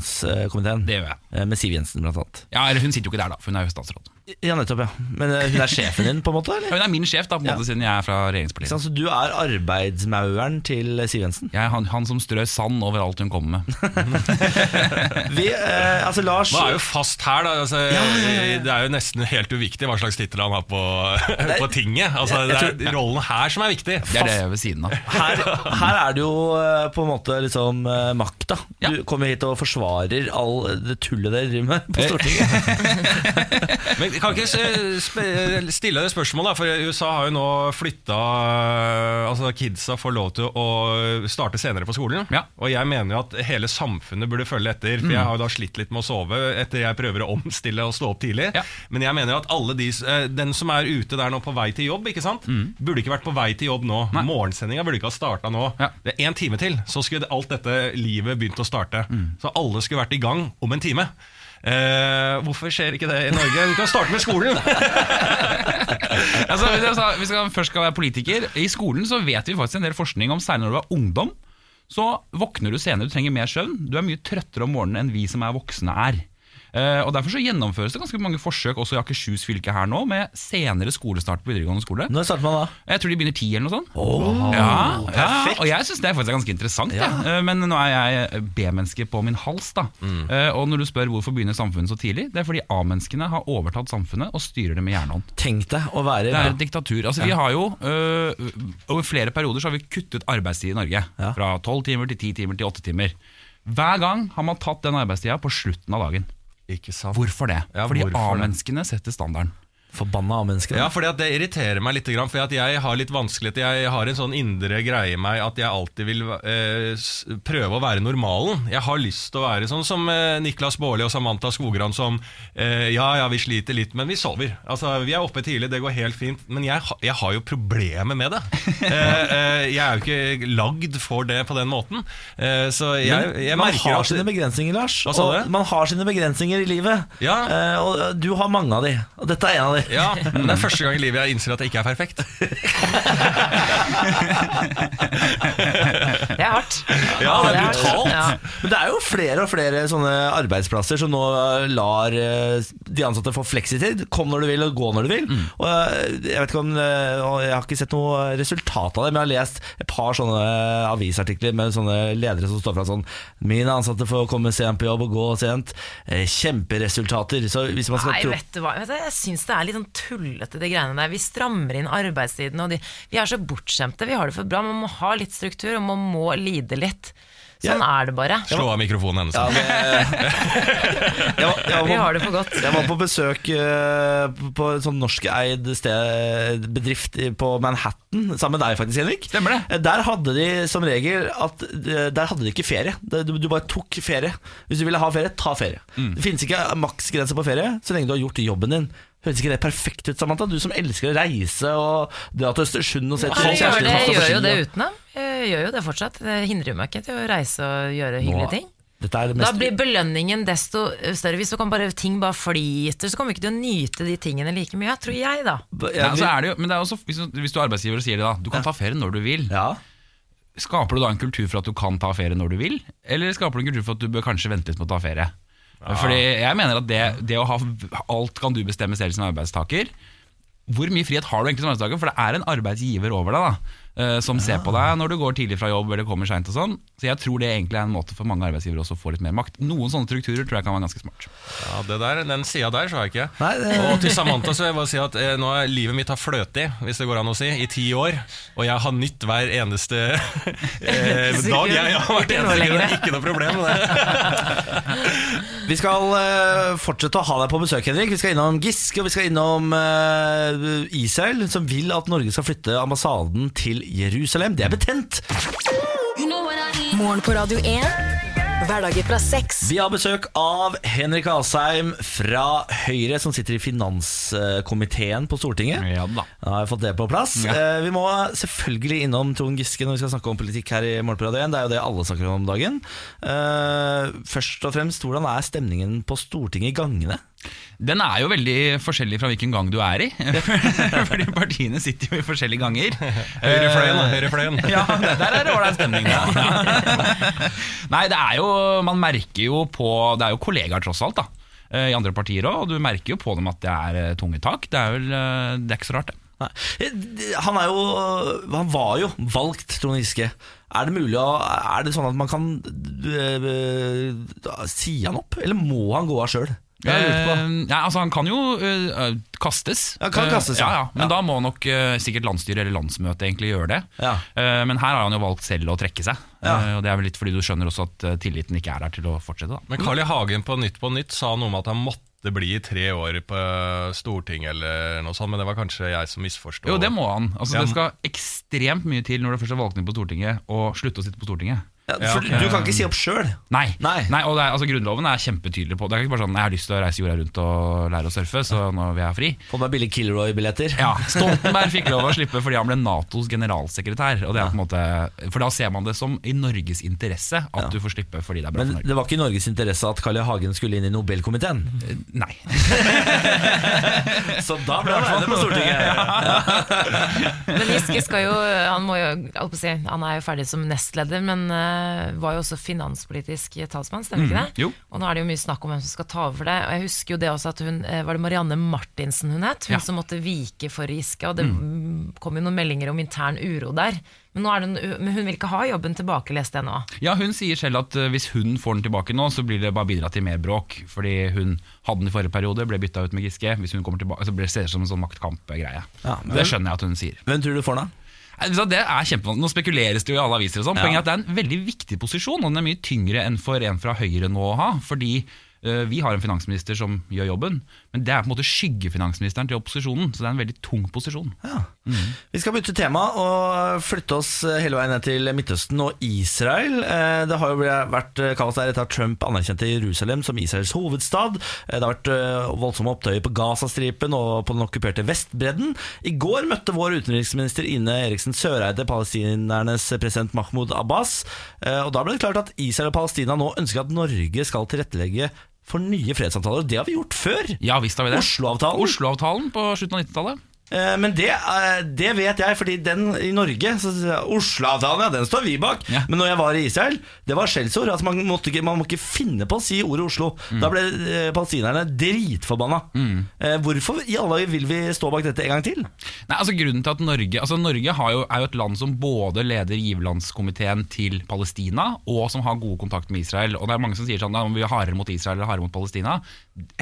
E: Det gjør jeg.
A: Eh, Med Siv Jensen, blant annet.
E: Ja, eller Hun sitter jo ikke der, da, for hun er jo statsråd.
A: Ja, nettopp, ja. Men eh, hun er sjefen din, på en måte? eller?
E: Ja, hun er min sjef, da, på en måte, siden jeg er fra
A: Ikke
E: regjeringspartiet.
A: sant? Så du er arbeidsmauren til Siv Jensen.
E: Jeg er han, han som strør sand overalt hun kommer med.
A: Vi, eh, altså Lars
C: Man er jo fast her, da. Altså, Det er jo nesten helt uviktig hva slags tittel han har på, på tinget. Altså, det er rollen her som er viktig.
E: Det er det ved siden av.
A: her, her er du jo eh, på en måte liksom eh, makta.
E: Ja.
A: Du kommer hit og forsvarer all det tullet dere driver med
E: Eh.
A: på Stortinget.
C: Men kan ikke s- sp- eh, stille deg spørsmål, da, for USA har jo nå flytta Altså, kidsa får lov til å starte senere på skolen.
E: Ja. Mm.
C: Og jeg mener jo at hele samfunnet burde følge etter, for jeg har jo da slitt litt med å sove etter jeg prøver å omstille og stå opp tidlig.
E: Ja.
C: Men jeg mener jo at alle de s- eh, Den som er ute der nå på vei til jobb, ikke sant?
E: Mm.
C: Burde ikke vært på vei til jobb nå. Morgensendinga burde ikke ha starta nå.
E: Ja.
C: Det er én time til, så skulle alt dette livet begynt å starte. Så alle skulle vært i gang om en time. Eh, hvorfor skjer ikke det i Norge? Du kan starte med skolen!
E: Altså, hvis jeg sa- hvis jeg først skal være politiker I skolen så vet vi faktisk en del forskning om særlig når du er ungdom. Så våkner du senere, du trenger mer søvn. Du er mye trøttere om morgenen enn vi som er voksne er. Eh, og Derfor så gjennomføres det ganske mange forsøk også i Akershus fylke her nå, med senere skolestart på videregående skole.
A: Når starter man da?
E: Jeg tror de begynner ti eller noe sånt. ja, ja, og jeg syns det er faktisk ganske interessant. jeg. Eh, Men nå er jeg B-menneske på min hals. da
C: Mm.
E: Eh, Og når du spør hvorfor begynner samfunnet så tidlig, det er fordi A-menneskene har overtatt samfunnet og styrer det med jernhånd.
A: Tenk deg å være
E: Det er et diktatur. Altså, vi har jo, øh, over flere perioder så har vi kuttet arbeidstid i Norge.
A: Ja.
E: Fra tolv timer til ti timer til åtte timer. Hver gang har man tatt den arbeidstida på slutten av dagen.
C: Ikke sant?
E: Hvorfor det?
C: Ja,
E: fordi
C: hvorfor det?
E: A-menneskene setter standarden.
A: forbanna av mennesker.
C: Ja, fordi at det irriterer meg litt, for at jeg har litt vanskeligheter. Jeg har en sånn indre greie i meg at jeg alltid vil eh, s- prøve å være normalen. Jeg har lyst til å være sånn som eh, Niklas Baarli og Samantha Skogran som eh, Ja, ja, vi sliter litt, men vi sover. Altså, Vi er oppe tidlig, det går helt fint. Men jeg, ha- jeg har jo problemer med det. Eh, eh, jeg er jo ikke lagd for det på den måten. Eh, så jeg,
A: Men
C: jeg
A: man
C: merker
A: har
C: at
A: sine begrensninger, Lars.
C: Hva sa
A: og
C: du?
A: Man har sine begrensninger i livet.
C: Ja.
A: Eh, og du har mange av de. Og dette er en av de.
C: Ja, men det er første gang i livet jeg innser at jeg ikke er perfekt.
B: Det er hardt.
C: Ja, det er
B: hardt.
C: brutalt.
B: Ja.
A: Men det er jo flere og flere sånne arbeidsplasser som nå eh, lar eh, de ansatte få fleksitid. Kom når du vil, og gå når du vil.
C: Mm.
A: Og eh, jeg vet ikke om eh, og Jeg har ikke sett noe resultat av det, men jeg har lest et par sånne eh, avisartikler med sånne ledere som står fra sånn Mine ansatte får komme sent på jobb og gå sent. Eh, Kjemperesultater. Så hvis man skal
B: Nei,
A: tro
B: vet du hva. Vet du, jeg syns det er litt sånn tullete, de greiene der. Vi strammer inn arbeidstiden, og de, vi er så bortskjemte. Vi har det for bra. Man må ha litt struktur, og man må lide litt. Sånn er det bare.
C: Slå av mikrofonen hennes.
A: ja, det, jeg, var- jeg,
B: Vi
A: var-
B: har det for godt.
A: Jeg var på besøk eh, på en sånn norskeid sted, bedrift i- på Manhattan, sammen med deg faktisk, Henrik.
E: Stemmer det.
A: Eh, Der hadde de som regel at eh, Der hadde de ikke ferie. Det- Du, du bare tok ferie. Hvis du ville ha ferie, ta ferie.
E: Mm.
A: Det finnes ikke maksgrense på ferie så lenge du har gjort jobben din. Høres ikke det perfekt ut, Samantha? Du som elsker å reise og dra til Østersund og se
B: Jeg gjør,
A: kjæresten din
B: det, jeg
A: kaste
B: gjør
A: på
B: jo det
A: ski, og-
B: uten dem. Jeg gjør jo det fortsatt. Det hindrer jo meg ikke til å reise og gjøre hyggelige ting.
A: Dette er det
B: Da
A: mest
B: blir belønningen desto større. Hvis du kan bare, ting bare flyter, så kommer vi ikke til å nyte de tingene like mye, tror jeg, da.
A: Jeg-
E: Ja, så er det jo, men det er også, hvis, du- hvis du er arbeidsgiver og sier det, da. Du kan ta ferie når du vil.
A: ja.
E: Skaper du da en kultur for at du kan ta ferie når du vil, eller skaper du en kultur for at du bør kanskje vente litt med å ta ferie? Fordi jeg mener at det, det å ha alt kan du bestemme selv som arbeidstaker Hvor mye frihet har du egentlig som arbeidstaker? For det er en arbeidsgiver over deg da eh, som ser på deg når du går tidlig fra jobb eller kommer seint og sånn. Så jeg tror det egentlig er en måte for mange arbeidsgivere også å få litt mer makt. Noen sånne strukturer tror jeg kan være ganske smart.
C: Ja, det der, Den sida der så jeg ikke.
A: Nei, det-
C: Og til Samantha så vil jeg bare si at eh, nå er livet mitt har fløt i, hvis det går an å si, i ti år. Og jeg har nytt hver eneste eh, dag. Jeg, har hvert
B: Ikke noe
C: eneste sekund. Det
B: lenger.
C: er ikke noe problem. Det.
A: Vi skal eh, fortsette å ha deg på besøk, Henrik. Vi skal innom Giske og vi skal innom eh, Israel, som vil at Norge skal flytte ambassaden til Jerusalem. Det er betent!
D: Morgen på Radio 1. Hverdager fra seks.
A: Vi har besøk av Henrik Asheim fra Høyre, som sitter i finanskomiteen på Stortinget.
E: Ja da.
A: Da har jeg fått det på plass.
E: Ja.
A: Eh, vi må selvfølgelig innom Trond Giske når vi skal snakke om politikk her i Morgenparadet 1. Det er jo det alle snakker om om dagen. Eh, først og fremst, hvordan er stemningen på Stortinget i gangene?
E: Den er jo veldig forskjellig fra hvilken gang du er i. Fordi partiene sitter jo i forskjellige ganger.
C: Høyrefløyen, da, høyrefløyen.
E: Ja, det- der er det ålreit stemning. da. Nei, det er jo Man merker jo på Det er jo kollegaer, tross alt, da. eh, I andre partier òg. Og du merker jo på dem at det er eh, tunge tak. Det er vel eh, Det er ikke så rart, det.
A: Nei. Eh, Han, er jo, han var jo valgt, Trond Giske. Er det mulig å Er det sånn at man kan øh, øh, si han opp, eller må han gå av sjøl? Det har jeg lurt på.
E: Eh, ja, altså Han kan jo eh, kastes.
A: Ja, kan kastes,
E: Eh,
A: ja.
E: ja, ja. Men da må nok eh, sikkert landsstyret eller landsmøtet egentlig gjøre det.
A: Ja.
E: Eh, men her har han jo valgt selv å trekke seg.
A: Ja.
E: Eh, og Det er vel litt fordi du skjønner også at eh, tilliten ikke er der til å fortsette. da
C: Men Carl I. Hagen på Nytt på Nytt sa noe om at han måtte bli i tre år på Stortinget eller noe sånt, men det var kanskje jeg som misforsto.
E: Jo, det må han. Altså,
C: Ja.
E: Det skal ekstremt mye til når du først er valgt inn på Stortinget, å slutte å sitte på Stortinget.
A: Ja, for
C: Ja, ok.
A: Du kan ikke si opp sjøl.
E: Nei.
A: Nei.
E: og det er, altså, Grunnloven er kjempetydelig på det. Det er ikke bare sånn 'jeg har lyst til å reise jorda rundt og lære å surfe', så nå vil jeg ha fri.
A: Få meg billige Kilroy-billetter.
E: Ja, Stoltenberg fikk lov å slippe fordi han ble Natos generalsekretær. Og det er på en måte, for da ser man det som i Norges interesse at du får slippe fordi det er bra
A: Men
E: for Norge.
A: det var ikke i Norges interesse at Carl I. Hagen skulle inn i Nobelkomiteen.
E: Nei.
A: Så da ble han på Stortinget.
B: Men Giske skal jo, han, må jo, jeg holdt på å si, han er jo ferdig som nestleder, men eh, eh, var jo også finanspolitisk talsmann, stemmer ikke det?
E: jo.
B: Og nå er det jo mye snakk om hvem som skal ta over det. Og jeg husker jo det også at hun, eh, var det Marianne Martinsen hun het? Hun
E: Ja.
B: som måtte vike for Giske, og det mm, kom jo noen meldinger om intern uro der. Men, nå er det, en- men hun vil ikke ha jobben tilbake, leste jeg nå.
E: Ja, hun sier selv at eh, hvis hun får den tilbake nå, så blir det bare bidra til mer bråk. Fordi hun hadde den i forrige periode, ble bytta ut med Giske. Hvis hun kommer tilbake, så blir det ser det som en sånn maktkamp-greie.
A: Ja,
E: det skjønner jeg at hun sier.
A: Hvem tror du får den, da?
E: Nei, vet du hva, Det er kjempevanskelig. Nå spekuleres det jo i alle aviser. og sånn Poenget er at det er en veldig viktig posisjon, og den er mye tyngre enn for en fra Høyre nå å ha. Fordi eh, vi har en finansminister som gjør jobben, men det er på en måte skyggefinandsministeren til opposisjonen. Så det er en veldig tung posisjon.
A: Ja. Vi skal bytte tema og flytte oss hele veien ned til Midtøsten og Israel. Eh, Det har jo blitt- vært eh, kaos der etter at Trump anerkjente Jerusalem som Israels hovedstad. Eh, Det har vært eh, voldsomme opptøyer på Gazastripen og på den okkuperte Vestbredden. I går møtte vår utenriksminister Ine Eriksen Søreide palestinernes president Mahmoud Abbas. Eh, Og da ble det klart at Israel og Palestina nå ønsker at Norge skal tilrettelegge for nye fredsavtaler. Og det har vi gjort før.
E: Ja, visst har vi det.
A: Oslo-avtalen.
E: Oslo-avtalen på slutten av 90-tallet.
A: Eh, Men det, eh, det vet jeg, fordi den i Norge så, så- Oslo-avtalen, ja, den står vi bak.
E: Ja.
A: Men når jeg var i Israel, det var skjellsord. Altså, man, måtte ikke, man må ikke finne på å si ordet Oslo.
E: Mm.
A: Da ble eh, palestinerne dritforbanna. Eh, hvorfor i alle dager vil vi stå bak dette en gang til?
E: Nei, altså grunnen til at Norge altså Norge har jo, er jo et land som både leder giverlandskomiteen til Palestina, og som har god kontakt med Israel. Og det er mange som sier sånn at vi er hardere mot Israel eller hardere mot Palestina.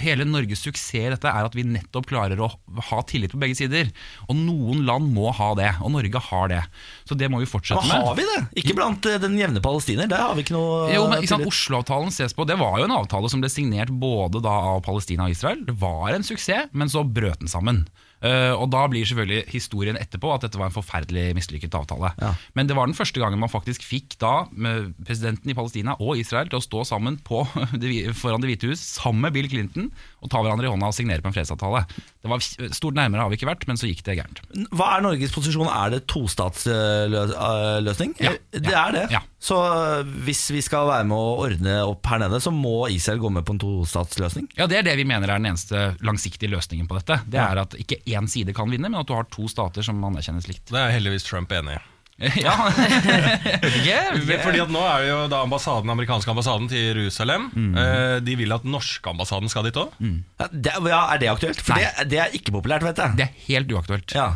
E: Hele Norges suksess i dette er at vi nettopp klarer å ha tillit på begge sider. Og noen land må ha det, og Norge har det. Så det må vi
A: Da
E: fortsette med.
A: har vi det! Ikke blant eh, den jevne palestiner. Der har vi ikke noe
E: Jo, men ikke sant,
A: tillit.
E: Oslo-avtalen ses på. Det var jo en avtale som ble signert både da av Palestina og Israel. Det var en suksess, men så brøt den sammen. Eh, og Da blir selvfølgelig historien etterpå at dette var en forferdelig mislykket avtale.
A: Ja.
E: Men det var den første gangen man faktisk fikk da med presidenten i Palestina og Israel til å stå sammen på, det hvi- foran Det hvite hus sammen med Bill Clinton og ta hverandre i hånda og signere på en fredsavtale. Det var Stort nærmere har vi ikke vært, men så gikk det gærent.
A: Hva er Norges posisjon? Er det eh, tostatsløsning?
E: Ja.
A: Det er det.
E: Ja.
A: Så eh, hvis vi skal være med å ordne opp her nede, så må Israel gå med på en tostatsløsning?
E: Ja, Det er det vi mener er den eneste langsiktige løsningen på dette. Det er At ikke én side kan vinne, men at du har to stater som anerkjennes likt.
C: Det er heldigvis Trump enig i.
E: Ja,
C: Fordi at Nå er det jo da ambassaden, amerikanske ambassaden til Jerusalem. Eh, De vil at norske ambassaden skal dit òg.
A: Ja, det, ja, er det aktuelt? For
E: Nei.
A: det, det er ikke populært, vet jeg.
E: Det er helt uaktuelt.
A: Ja.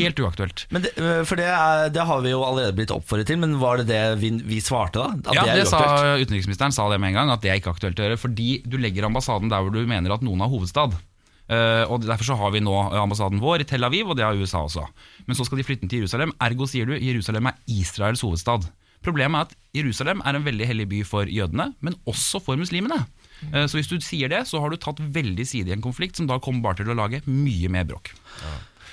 E: Helt uaktuelt.
A: Men det, øh, for det, er, det har vi jo allerede blitt oppfordret til, men var det det vi, vi svarte da? At
E: Ja,
A: det er
E: det
A: uaktuelt?
E: sa Utenriksministeren sa det med en gang, at det er ikke aktuelt å gjøre. Fordi du legger ambassaden der hvor du mener at noen har hovedstad. Eh, og Derfor så har vi nå ambassaden vår i Tel Aviv, og det har USA også. Men så skal de flytte den til Jerusalem. Ergo sier du Jerusalem er Israels hovedstad. Problemet er at Jerusalem er en veldig hellig by for jødene, men også for muslimene. Eh, Så hvis du sier det, så har du tatt veldig side i en konflikt som da kommer bare til å lage mye mer bråk.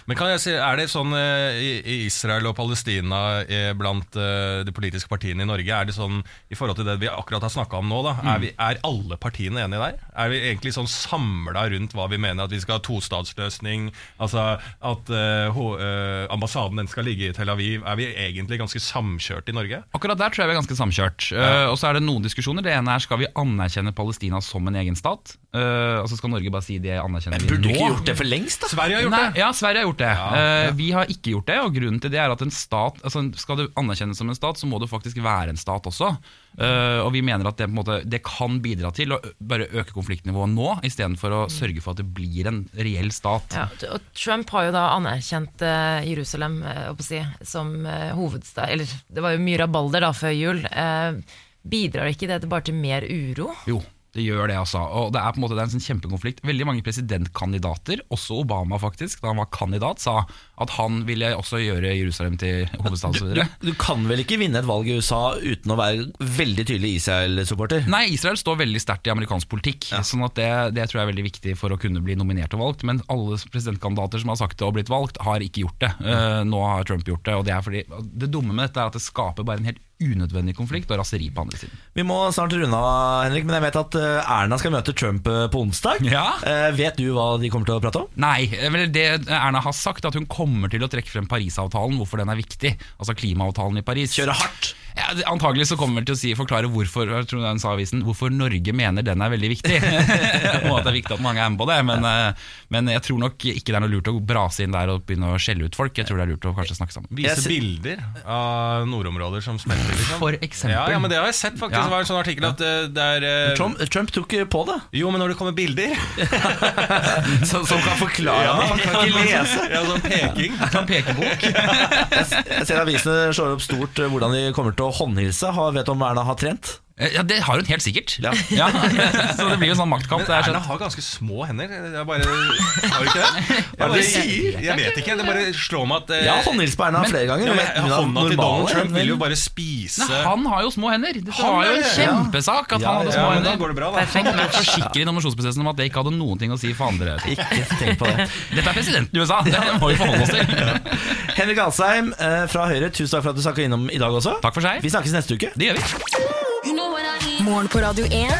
C: Men kan jeg si, Er det sånn eh, i i Israel og Palestina eh, blant eh, de politiske partiene i Norge Er det sånn, I forhold til det vi akkurat har snakka om nå, da, er, vi, er alle partiene enige der? Er vi egentlig sånn samla rundt hva vi mener at vi skal ha tostatsløsning? Altså At eh, ho- eh, ambassaden den skal ligge i Tel Aviv? Er vi egentlig ganske samkjørte i Norge?
E: Akkurat der tror jeg vi er ganske samkjørt. Eh, og så er det noen diskusjoner. Det ene er skal vi anerkjenne Palestina som en egen stat. Eh, og så skal Norge bare si det anerkjenner vi nå.
A: Burde du ikke gjort det for lengst, da?
C: Sverige har gjort
E: Nei,
C: det!
E: Ja, Sverige har gjort det. Eh, vi har ikke gjort det. Og grunnen til det er at en stat altså, Skal du anerkjennes som en stat, så må du faktisk være en stat også. Eh, og vi mener at det, på en måte, det kan bidra til å ø- bare øke konfliktnivået nå, istedenfor å sørge for at det blir en reell stat.
B: Ja, og Trump har jo da anerkjent eh, Jerusalem eh, holdt på å si, som eh, hovedstad Eller det var jo mye rabalder da før jul. Eh, bidrar ikke det til bare til mer uro?
E: Jo, det gjør det, altså. Og det er på en måte det er en sånn kjempekonflikt. Veldig mange presidentkandidater, også Obama faktisk, da han var kandidat, sa at han ville også gjøre Jerusalem til hovedstad og så
A: Du,
E: videre.
A: du kan vel ikke vinne et valg i USA uten å være veldig tydelig Israel-supporter?
E: Nei, Israel står veldig sterkt i amerikansk politikk. Sånn at det, det tror jeg er veldig viktig for å kunne bli nominert og valgt. Men alle presidentkandidater som har sagt det og blitt valgt, har ikke gjort det. Eh, nå har Trump gjort det. og Det er fordi det dumme med dette er at det skaper bare en helt unødvendig konflikt og raseri på andre siden.
A: Vi må snart runde av, Henrik, men jeg vet at øh, Erna skal møte Trump øh, på onsdag.
E: Ja.
A: Eh, vet du hva de kommer til å prate om?
E: Nei, vel det Erna har sagt, at hun kommer til å trekke frem Parisavtalen, hvorfor den er viktig. Altså klimaavtalen i Paris.
A: Kjøre hardt.
E: Ja, det- antagelig så kommer han til å si, forklare hvorfor jeg tror han sa i avisen, hvorfor Norge mener den er veldig viktig. og at det er viktig at mange er med på det. Men, eh, men jeg tror nok ikke det er noe lurt å brase inn der og begynne å skjelle ut folk. Jeg tror det er lurt å kanskje snakke sammen.
C: Vise
A: Jeg sy-
C: bilder av nordområder som smelter. Liksom.
E: For eksempel.
C: Ja, ja, men Det har jeg sett, faktisk.
E: Ja.
C: Det var en sånn artikkel at eh, det er eh,
A: Trump, Trump tok ikke på det.
C: Jo, men når det kommer bilder
A: Som, som kan forklare
C: Ja,
A: det. Man kan ikke lese.
C: Ja, sånn peking.
E: Kan peke bok.
A: Jeg ser avisene slår opp stort eh, hvordan de kommer til å håndhilse. Har- Vet du om Erna har trent?
E: Eh, Ja, det har hun helt sikkert.
A: Ja.
E: Ja, så det blir jo sånn maktkamp.
C: Men
E: det er
C: Erna
E: sånn-
C: har ganske små hender. Jeg bare, har du ikke det? Jeg, bare,
A: sier?
C: jeg vet ikke. Det bare slår meg at eh,
A: Jeg har håndhilst på Erna flere ganger.
C: ja, men,
A: men hun har
C: Hånda til
A: normale
C: Donald Trump vil jo
A: hender.
C: bare spise
E: Nei, han har jo små hender. Det
C: Han
E: var jo
C: er
E: en
C: det, ja.
E: kjempesak at
A: Ja,
E: han hadde
C: Ja,
E: små
C: men da
E: hender.
C: går det bra, da.
B: Perfekt match.
E: Forsikre i nominasjonsprosessen om at det ikke hadde noen ting å si for andre.
A: Ikke tenk på det.
E: Dette er presidenten i USA, det må vi forholde oss til.
A: Henrik Asheim eh, fra Høyre, tusen takk for at du snakka innom i dag også.
E: Takk for seg.
A: Vi snakkes neste uke.
E: Det gjør vi.
D: Morgen på Radio 1.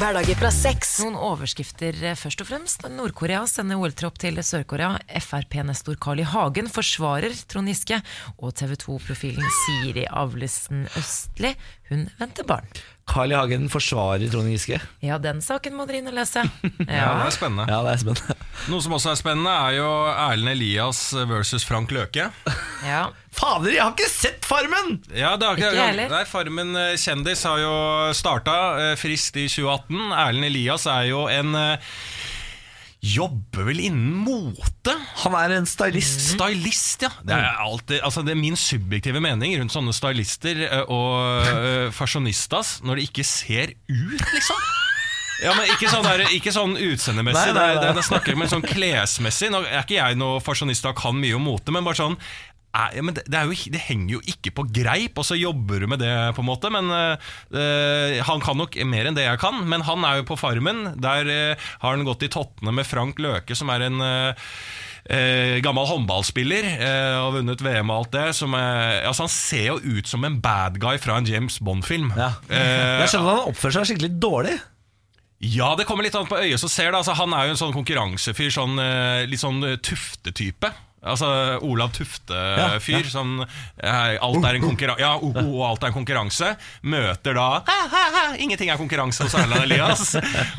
D: Hverdager fra seks.
B: Noen overskrifter eh, først og fremst. Nord-Korea sender OL-tropp til Sør-Korea. Frp-nestor Carl I. Hagen forsvarer Trond Giske. Og TV 2-profilen Siri Avlesen Østli, hun venter barn.
A: Carl I. Hagen forsvarer Trond Giske.
B: Ja, den saken må dere inn og lese.
C: Ja,
B: Ja.
C: det er spennende.
A: Ja, det er spennende.
C: Noe som også er spennende, er jo Erlend Elias versus Frank Løke.
B: ja.
A: Fader, jeg har ikke sett Farmen!
C: Ja, det har
B: Ikke jeg heller.
C: Nei, Farmen eh, kjendis har jo starta eh, frist i 2018. Erlend Elias er jo en eh, Jobber vel innen mote?
A: Han er en stylist.
C: Stylist, ja. Det er,
A: Mm.
C: alltid, altså det er min subjektive mening rundt sånne stylister eh, og eh, fasjonistas når de ikke ser ut, liksom. Ja, men Ikke sånn, der, ikke sånn utseendemessig,
A: Nei, nei,
C: det er-
A: nei.
C: det- jeg snakker om en sånn klesmessig. Nå er ikke jeg noe fasjonist og kan mye om mote, men bare sånn eh, ja, men det, det, er jo, det henger jo ikke på greip, og så jobber du med det, på en måte. Men eh, eh, Han kan nok mer enn det jeg kan, men han er jo på Farmen. Der eh, har han gått i tottene med Frank Løke, som er en eh, Eh, gammel håndballspiller eh, og vunnet VM og alt det. Som, eh, altså han ser jo ut som en bad guy fra en James Bond-film.
A: Ja.
C: Eh,
A: Jeg skjønner at han oppfører seg skikkelig dårlig.
C: ja, det kommer litt an på øyet som ser det. Altså, han er jo en sånn konkurransefyr, sånn, eh, litt sånn eh, Tufte-type. Altså Olav Tufte-fyr. Sånn eh, alt er en konkurranse Ja, oh, oh, og alt er en konkurranse. Møter da ha, ha, ha, Ingenting er konkurranse hos Erlend Elias.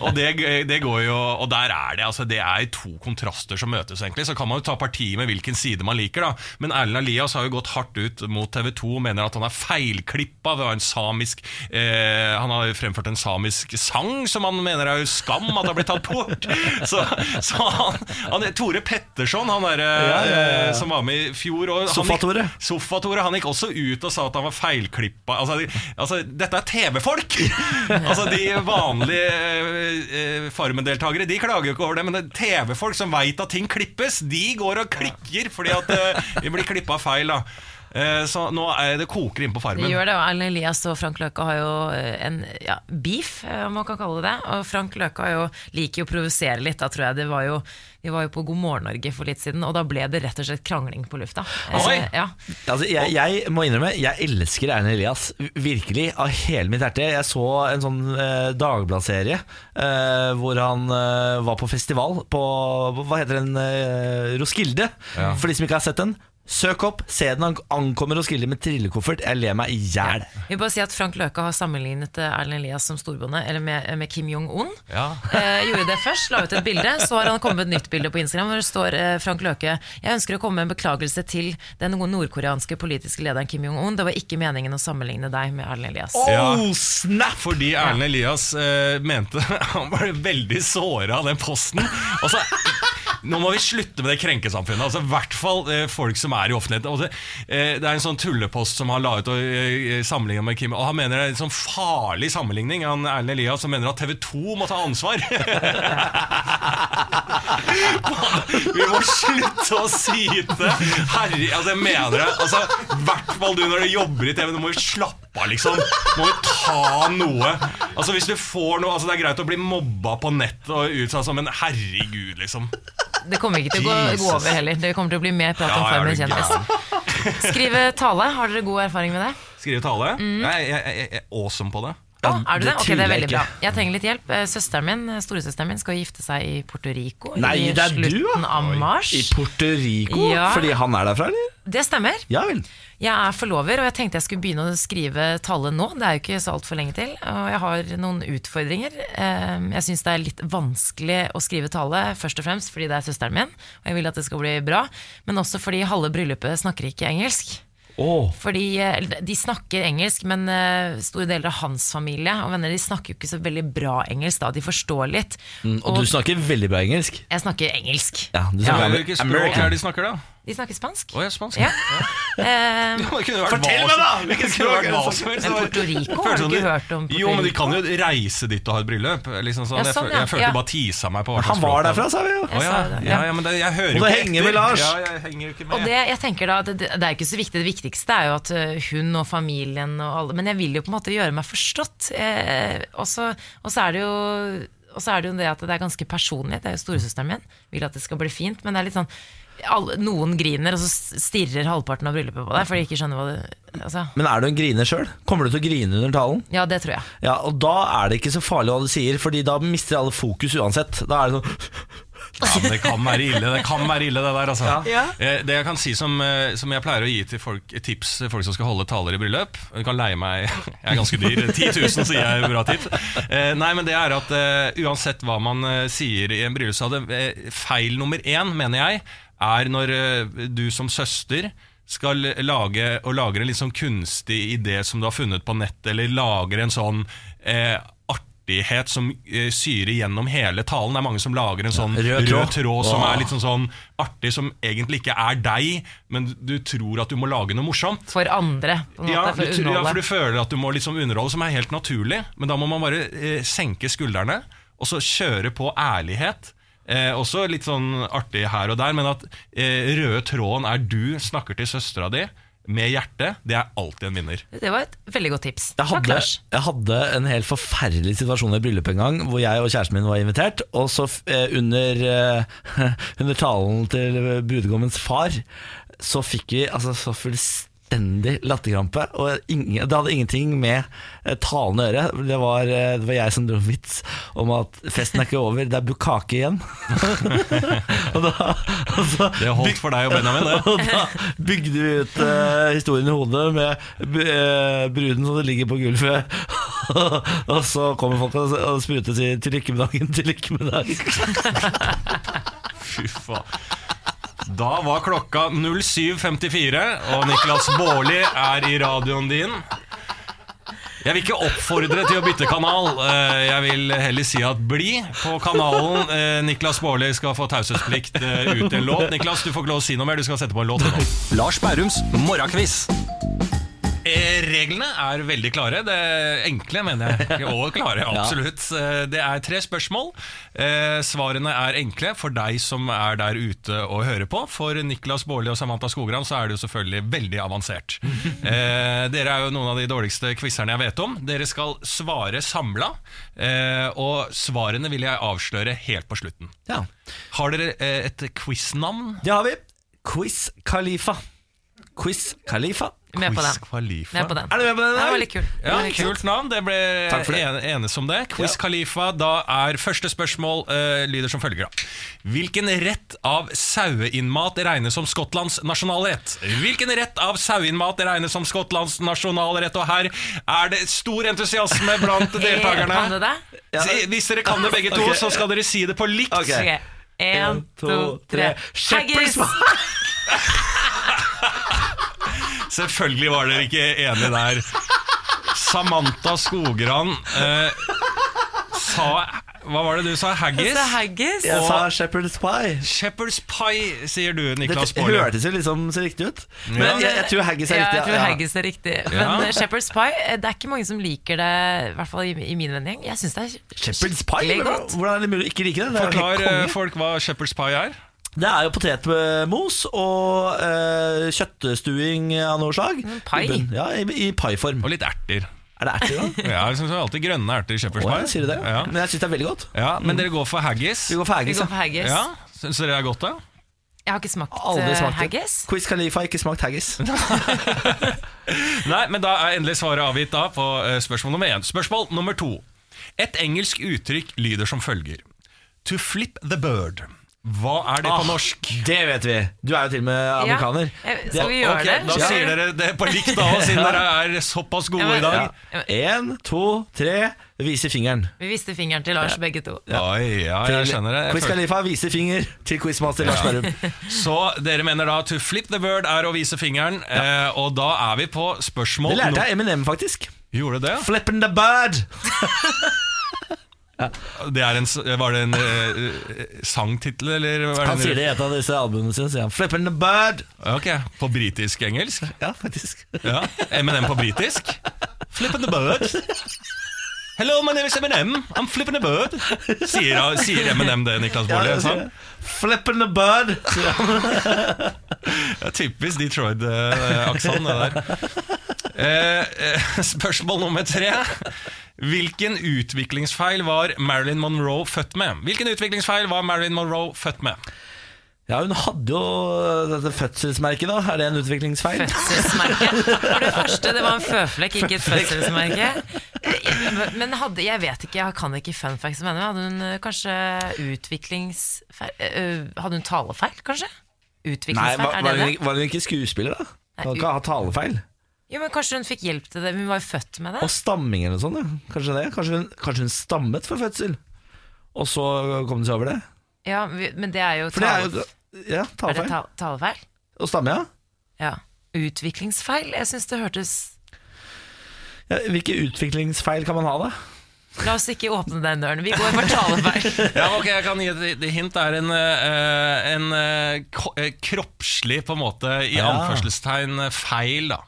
C: og det, det går jo Og der er det. Altså, det er to kontraster som møtes, egentlig. Så kan man jo ta parti med hvilken side man liker, da. Men Erlend Elias har jo gått hardt ut mot TV 2 og mener at han er feilklippa ved å ha en samisk eh, Han har jo fremført en samisk sang som han mener er jo skam at har blitt tatt bort. Så, så han, han Tore Petterson, han derre eh, som var med i fjor og han gikk-
A: Sofa-Tore.
C: Sofa-Tore. Han gikk også ut og sa at han var feilklippa. Altså, altså dette er TV-folk! altså De vanlige eh, eh, Farmen-deltakere De klager jo ikke over det, men det er TV-folk som veit at ting klippes, de går og klikker fordi at eh, de blir klippa feil. da Eh, Så nå er det koker inn på
B: Det
C: Farmen.
B: gjør det, og Erlend Elias og Frank Løke har jo eh, en ja, beef, eh, om man kan kalle det det. Og Frank Løke har jo, liker jo å provosere litt, da tror jeg. Det var jo, vi var jo på God morgen Norge for litt siden, og da ble det rett og slett krangling på lufta. Eh,
C: Oi!
B: Ja.
A: Altså, jeg, jeg må innrømme, jeg elsker Erlend Elias. Virkelig, av hele mitt hjerte. Jeg så en sånn eh, Dagbladet-serie eh, hvor han eh, var på festival på Hva heter den? Eh, Roskilde. For de som ikke har sett den. Søk opp, se den. Han ankommer Roskilde med trillekoffert. Jeg ler meg i hjel.
B: Vi bare sier at Frank Løke har sammenlignet eh, Erlend Elias som storbonde, eller med, eh, med Kim Jong-un.
C: Ja.
B: Eh, gjorde det først, la ut et bilde. Så har han kommet med et nytt bilde på Instagram hvor det står eh, Frank Løke Jeg ønsker å komme med en beklagelse til den nordkoreanske politiske lederen Kim Jong-un. Det var ikke meningen å sammenligne deg med Erlend Elias.
C: Ja.
A: Oh, snap!
C: Fordi Erlend Elias eh, mente Han ble veldig såra av den posten. Og så nå må vi slutte med det krenkesamfunnet. Altså, I hvert fall eh, folk som er i offentligheten. Og det, eh, det er en sånn tullepost som han la ut og eh, sammenlignet med Kim. Og han mener det er en sånn farlig sammenligning. Han Erlend Elias som mener at TV 2 må ta ansvar. vi må slutte å syte! Herre, altså jeg mener det. Altså, I hvert fall du når du jobber i TV. Du må jo slappe av, liksom. Du må jo ta noe. Altså hvis du får noe Altså Det er greit å bli mobba på nett og utsatt som, men herregud, liksom.
B: Det kommer ikke til å gå,
C: Jesus.
B: gå over heller. Det kommer til å bli mer prat om
C: Ja, er
B: Farmen
C: du gæren?
B: kjendis. Skrive tale, har dere god erfaring med det?
C: Skrive tale?
B: Mm.
C: Nei, jeg, jeg, jeg er awesome på det.
B: Å, er
A: det
B: du det? Ok, det er
A: tviler jeg
B: veldig bra. Jeg trenger litt hjelp. Eh, Søsteren min, eh, Storesøsteren min skal gifte seg i Puerto Rico
A: Nei,
B: i
A: det er du, ja.
B: slutten av mars.
A: I Puerto Rico?
B: Ja.
A: Fordi han er derfra, eller?
B: Det stemmer.
A: Ja vel.
B: Jeg er forlover, og jeg tenkte jeg skulle begynne å skrive tallet nå. Det er jo ikke så altfor lenge til. Og jeg har noen utfordringer. Ehm, Jeg syns det er litt vanskelig å skrive tallet, først og fremst fordi det er søsteren min, og jeg vil at det skal bli bra. Men også fordi halve bryllupet snakker ikke engelsk.
A: Åh,
B: Fordi eh, De snakker engelsk, men eh, store deler av hans familie og venner de snakker jo ikke så veldig bra engelsk. da, De forstår litt.
C: Mm,
A: og du snakker veldig bra engelsk.
B: Jeg snakker engelsk.
A: Ja, du
C: Ja,
A: snakker
C: men Hvilket språk er det de snakker, da?
B: De snakker spansk.
C: Å, jeg er spansk.
B: Ja. Ehm,
C: Det kunne jo vært hva som- Det kunne vært hva som helst.
B: Men Puerto Rico, har
C: Føles
B: du
C: som
B: ikke
C: de-
B: hørt om Puerto
C: Jo, men de
B: Rico?
C: kan jo reise dit og ha et bryllup. Liksom sånn.
B: Ja,
C: jeg,
B: sånn,
C: føl-
B: ja.
C: jeg følte
B: Ja.
C: du bare tisa meg på hva
A: Han
C: slags
A: var
C: språk
A: der fra, sa vi jo.
B: Jeg
C: Å, ja.
B: sa det,
C: Ja,
B: ja.
C: ja, men det, jeg hører
A: Og
C: jo
A: da
C: ikke
A: henger
C: etter.
A: vi, Lars.
C: Ja, jeg henger jo ikke med.
B: Og det, jeg tenker da, at det, det er ikke så viktig. Det viktigste er jo at ø, hun og familien og alle Men jeg vil jo på en måte gjøre meg forstått. Eh, og så og så er det jo og så er det jo det at det er ganske personlig. Det er jo storesøsteren min. Vil at det skal bli fint. Men det er litt sånn alle, Noen griner, og så stirrer halvparten av bryllupet på deg. For de ikke skjønner hva det altså,
A: Men er du en griner sjøl? Kommer du til å grine under talen?
B: Ja, det tror jeg.
A: Ja, og da er det ikke så farlig hva du sier, Fordi da mister alle fokus uansett. Da er det sånn
C: Ja, men det kan være ille, det kan være ille det der, altså.
B: Ja.
C: Eh, Det jeg kan si som, eh, som jeg pleier å gi til folk, tips til folk som skal holde taler i bryllup Du kan leie meg, jeg er ganske dyr, 10 000 sier jeg er bra tips. Eh, Nei, men det er at eh, uansett hva man eh, sier i en bryllupsdag, eh, feil nummer én, mener jeg, er når eh, du som søster skal lage og lager en litt sånn kunstig idé som du har funnet på nettet, eller lager en sånn eh, artighet som eh, syrer gjennom hele talen. Det er mange som lager en sånn
A: rød
C: rød
A: tråd.
C: tråd, som er litt sånn, sånn artig, som egentlig ikke er deg, men du tror at du må lage noe morsomt.
B: For andre. På en måte,
C: Ja,
B: for
C: du,
B: å
C: tror- ja, for du
B: underholde.
C: føler at du må liksom underholde, som er helt naturlig. Men da må man bare eh, senke skuldrene, og så kjøre på ærlighet. Eh, også litt sånn artig her og der, men at eh, røde tråden er du snakker til søstera di med hjertet, det er alltid en vinner.
B: Det var et veldig godt tips.
A: Jeg
B: Takk,
A: hadde,
B: Lars.
A: jeg hadde en helt forferdelig situasjon i et bryllup en gang, hvor jeg og kjæresten min var invitert. Og så f- eh, under, eh, under talen til brudegommens far, så fikk vi altså, så fullstendig latterkrampe. Og ingen, det hadde ingenting med eh, talen å gjøre. Det var, eh, det var jeg som dro en vits om at festen er ikke over, det er bukkake igjen. og da, og så,
C: Det holdt for deg og Benjamin, det.
A: og da bygde vi ut eh, historien i hodet med b- eh, bruden som ligger på gulvet. og så kommer folk og, og spruter og sier 'til lykke med dagen', 'til lykke med dagen'.
C: Fy faen. Da var klokka 07.54, og Niklas Baarli er i radioen din. Jeg vil ikke oppfordre til å bytte kanal. Eh, Jeg vil heller si at bli på kanalen. Eh, Niklas Baarli skal få taushetsplikt eh, ut til en låt. Niklas, du får ikke lov å si noe mer. Du skal sette på en låt. nå.
F: Lars Bærums morgenkviss.
C: Eh, Reglene er veldig klare. Det er enkle, mener jeg. Og klare, absolutt. Eh, Det er tre spørsmål. Eh, Svarene er enkle for deg som er der ute og hører på. For Niklas Baarli og Samantha Skogran så er det jo selvfølgelig veldig avansert. Eh, Dere er jo noen av de dårligste quizerne jeg vet om. Dere skal svare samla, eh, og svarene vil jeg avsløre helt på slutten.
A: Ja,
C: Har dere eh, et quiznavn?
A: det har vi. Quiz Khalifa. Quiz Khalifa.
B: Med på
C: Quiz
B: den.
C: Khalifa.
B: Med på den.
A: Er du med på den?
B: Det
A: der?
B: var litt kult.
C: Ja, Kult navn. Det ble
A: Takk for det.
C: en- enes om det. Quiz
A: Ja.
C: Khalifa. Da er første spørsmål eh, lyder som følger. da. Hvilken rett av saueinnmat regnes som Skottlands nasjonalrett? Hvilken rett av saueinnmat regnes som Skottlands nasjonalrett? Og her er det stor entusiasme blant
B: Kan du
C: deltakerne.
B: det?
C: Si- Hvis dere kan det begge to,
A: Ok.
C: så skal dere si det på likt.
A: Ok.
B: Ok. En, to, tre. Haggis!
C: Selvfølgelig var dere ikke enige der. Samantha Skogran eh, sa Hva var det du sa? Haggis?
B: Så haggis?
A: Jeg sa Shepherd's Pie.
C: Shepherd's pie, sier du,
A: Dette
C: Niklas Baarli.
A: hørtes jo liksom så riktig ut.
C: Ja.
A: Men jeg, jeg tror haggis er
B: Ja,
A: riktig.
B: jeg tror haggis er riktig.
C: Ja.
B: Men eh, Shepherd's pie, eh, det er ikke mange som liker det, i hvert fall i, i min vending. Jeg syns det er
A: Shepherd's Pie?
B: skikkelig godt.
A: Hvordan er det mulig å ikke like det? Det er jo helt
C: Forklar eh,
A: konge.
C: folk hva shepherd's pie er.
A: Det er jo potetmos og eh, kjøttstuing av noe slag.
B: Mm, pai.
A: I bunn. Ja, i, i paiform.
C: Og litt erter.
A: Er det erter, da?
C: Ja, jeg synes det er alltid grønne erter i shepherd's
A: Å,
C: pie.
A: ja, sier du det?
C: Ja.
A: Men jeg syns det er veldig godt.
C: ja, Men dere går for haggis?
A: Vi går for
B: Vi
A: haggis.
B: går for
A: liksom. ja.
B: haggis.
C: Ja, Syns dere det er godt, da?
B: Jeg har ikke smakt,
A: Aldri
B: eh,
A: smakt det.
B: haggis.
A: Quiz Khalifa har ikke smakt haggis.
C: Nei, men da er endelig svaret avgitt da på eh, spørsmål nummer én. Spørsmål nummer to. Et engelsk uttrykk lyder som følger. To flip the bird Hva er det
A: Ah,
C: på norsk?
A: Det vet vi. Du er jo til og med amerikaner.
B: Ja. Eh, Skal vi gjøre
C: Ok,
B: det?
C: Da
B: Ja.
C: sier dere det på likt, da, siden dere er såpass
B: Ja,
C: gode
B: men-
C: i dag.
A: Ja. En, to, tre. Vise fingeren.
B: Vi viste fingeren til Lars, begge to.
C: Oi, ja, jeg skjønner det. Jeg
A: Quiz
C: følte-
A: Khalifa viser finger til quizmaster Lars Berrum.
C: Så dere mener da to flip the bird er å vise fingeren, eh, og da er vi på spørsmål
A: Det lærte jeg Eminem, faktisk.
C: No- Gjorde det?
A: Flippin' the bird!
C: det er en, s- var det en eh, sangtittel, eller? hva er
A: Han
C: det?
A: sier det i et av disse albumene sine. Sier han, Flippin' the bird!
C: Ok, på britisk-engelsk?
A: Ja, faktisk.
C: Ja, M&M på britisk? Flippin' the bird. Hello, my name is M&M. I'm flippin' the bird. Sier, sier M&M det, Niklas
A: Ja, altså,
C: Baarli?
A: det sier
C: sant?
A: jeg. Flippin' the bird!
C: Ja, typisk Detroit-aksent, det der. Eh, eh, spørsmål nummer tre. Hvilken utviklingsfeil var Marilyn Monroe født med? Hvilken utviklingsfeil var Marilyn Monroe født med?
A: Ja, hun hadde jo dette fødselsmerket, da. Er det en utviklingsfeil?
B: Fødselsmerke. For det første, det var en føflekk, ikke et fødselsmerke. Eh, Men hadde, jeg vet ikke, jeg kan ikke fun facts om henne. men Hadde hun eh, kanskje utviklingsfeil eh, eh, Hadde hun talefeil, kanskje?
A: Nei,
B: Utviklingsfeil,
A: var, var,
B: er det
A: hun,
B: det?
A: ikke- var hun ikke skuespiller, da?
B: Nei,
A: Hun kan ikke ha talefeil.
B: Jo, men Kanskje hun fikk hjelp til det? Hun var jo født med
A: Og
B: det.
A: stamming eller noe sånt. Ja. Kanskje det kanskje hun, kanskje hun stammet for fødsel, og så kom hun seg over det?
B: Ja, vi- Men det er jo,
A: For det er
B: tale,
A: jo Ja,
B: er det
A: talefeil.
B: ta, talefeil.
A: Og stamme, ja.
B: Ja. Utviklingsfeil? Jeg syns det hørtes
A: ja. Hvilke utviklingsfeil kan man ha, da?
B: La oss ikke åpne den døren. Vi går for talefeil.
C: Ja, ok, jeg kan gi et lite hint. Det er en, eh, en eh, ko- eh, kroppslig, på en måte, i
A: Ja.
C: anførselstegn, eh, feil, da.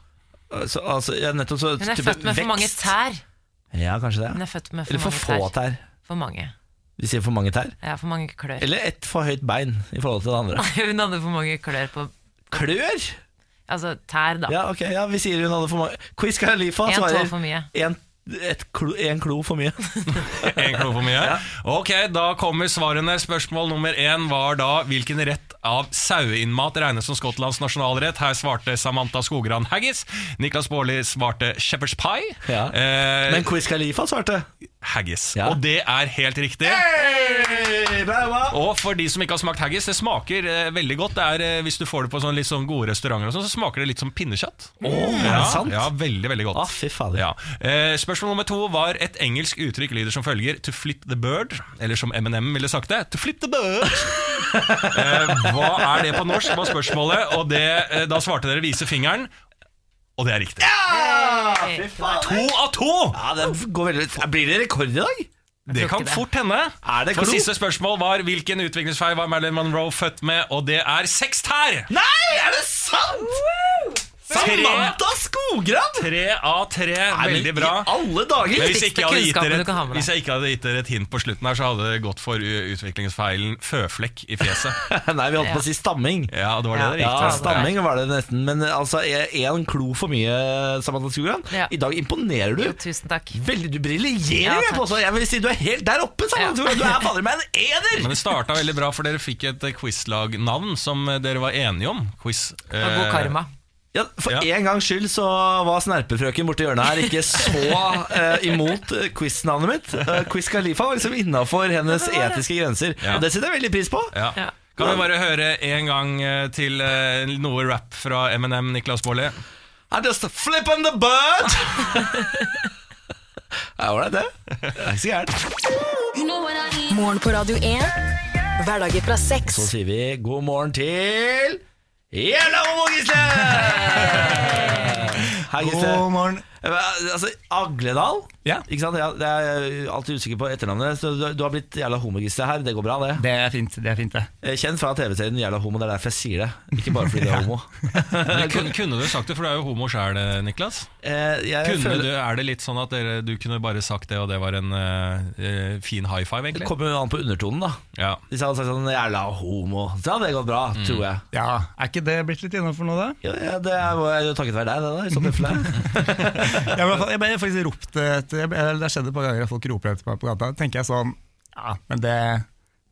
A: Så, altså, ja, nettopp så
B: Hun er
A: type
B: født med for mange
A: vekst.
B: tær.
A: Ja, kanskje
B: Hun
A: det.
B: er født med for
A: Eller for få
B: mange tær.
A: tær.
B: For mange.
A: Vi sier for mange tær.
B: Ja, for mange klør.
A: Eller ett for høyt bein i forhold til det andre.
B: Hun hadde for mange klør på
A: Klør!
B: Altså tær, da.
A: Ja, ok, ja, vi sier hun hadde for mange Quiz Khalifa
B: En tå
A: svarer
B: for mye.
A: en, et klo, en klo for mye.
C: En klo for mye. Ok, da kommer svarene. Spørsmål nummer én var da hvilken rett av saueinnmat regnes som Skottlands nasjonalrett. Her svarte Samantha Skogran haggis. Niklas Baarli svarte shepherd's pie.
A: Ja.
C: Eh,
A: Men Quiz Khalifa svarte.
C: haggis.
A: Ja.
C: Og det er helt riktig. Og for de som ikke har smakt haggis, det smaker eh, veldig godt. Det er, eh, hvis du får det på sånn, litt sånn gode restauranter, og sånn, så smaker det litt som pinnekjøtt.
A: er det sant?
C: Ja, veldig, veldig godt.
A: Å, fy fader.
C: Ja. Eh, spørsmål nummer to var et engelsk uttrykk lyder som følger To flip the bird, eller som Eminem ville sagt det To flip the bird eh, Hva er det på norsk, var spørsmålet Og det, eh, da svarte dere vise fingeren Og det er riktig
B: Hey,
C: To av to!
A: Ja, det går veldig Blir det rekord i dag?
C: Det kan
B: ikke det.
C: fort hende
A: Er det
C: For
A: klo?
C: siste spørsmål var Hvilken utviklingsfeil var Marilyn Monroe født med Og det er seks tær
A: Nei, er det sant?! Samantha Skogran!
C: Tre av tre,
A: Nei, men
C: veldig bra
A: I alle dager!
C: Men hvis,
B: Viktigste
C: ikke jeg hadde gitt
B: kunnskapen
C: dere
B: du kan ha
C: et,
B: med deg.
C: hvis jeg ikke hadde gitt dere et hint på slutten her, så hadde det gått for u- utviklingsfeilen føflekk i fjeset.
A: Nei, vi holdt på å si stamming.
C: Ja, det var det dere
A: Ja,
C: gikk til.
A: stamming var det nesten, men altså én klo for mye, Samantha Skogran.
B: Ja.
A: I dag imponerer
B: Jo,
A: du.
B: tusen takk.
A: Veldig, Du briljerer,
B: Ja,
A: jeg
B: takk.
A: påstår. Jeg vil si du er helt der oppe, Samantha
B: Ja.
A: Skogran. Du er fader meg en eder!
C: Men det starta veldig bra, for dere fikk et eh, quizlagnavn som eh, dere var enige om. Quiz.
B: Og
C: Eh.
B: god karma.
A: Ja, for
C: Ja.
A: en gangs skyld så var snerpefrøken borti hjørnet her ikke så eh, imot eh, quiz-navnet mitt. Eh, quiz Khalifa var liksom innafor hennes etiske grenser,
C: Ja.
A: og det setter jeg veldig pris på.
C: Ja.
B: Ja.
C: Kan vi bare høre en gang eh, til eh, noe rap fra M&M, Niklas Baarli?
A: I just flip on the bird! Ja, var det det? Det er ikke så gærent.
D: Morgen på Radio 1. Hverdager fra seks.
A: Så sier vi god morgen til Jævla homo, Gisle! Hei, Gisle.
G: God morgen.
A: Eh, Altså, Agledal?
G: Ja.
A: Ikke sant? Ja, det er jeg alltid usikker på etternavnet. Så du, du har blitt jævla homo, Gisle, her. Det går bra, det.
G: Det er fint, det er fint det.
A: Eh, Kjent fra TV-serien Jævla homo, det er derfor jeg sier det. Ikke bare fordi det er homo.
C: Men kun- Kunne du sagt det, for du er jo homo sjæl, Niklas.
A: Eh, jeg
C: Kunne
A: føler,
C: du, er det litt sånn at dere, du kunne bare sagt det, og det var en eh, eh, fin high five,
A: Det
C: egentlig?
A: kommer jo an på undertonen, da.
C: Ja.
A: Hvis jeg hadde sagt sånn 'jævla homo', så hadde det gått bra,
C: Mm.
A: tror jeg.
G: Ja, Er ikke det blitt litt innafor nå, da?
A: Ja, ja, det er jo takket være deg, det, da, i så tilfelle.
G: Jeg ble, jeg ble faktisk ropt etter jeg ble, eller Det har skjedd et par ganger at folk roper etter meg på gata. Da tenker jeg sånn Ja, men det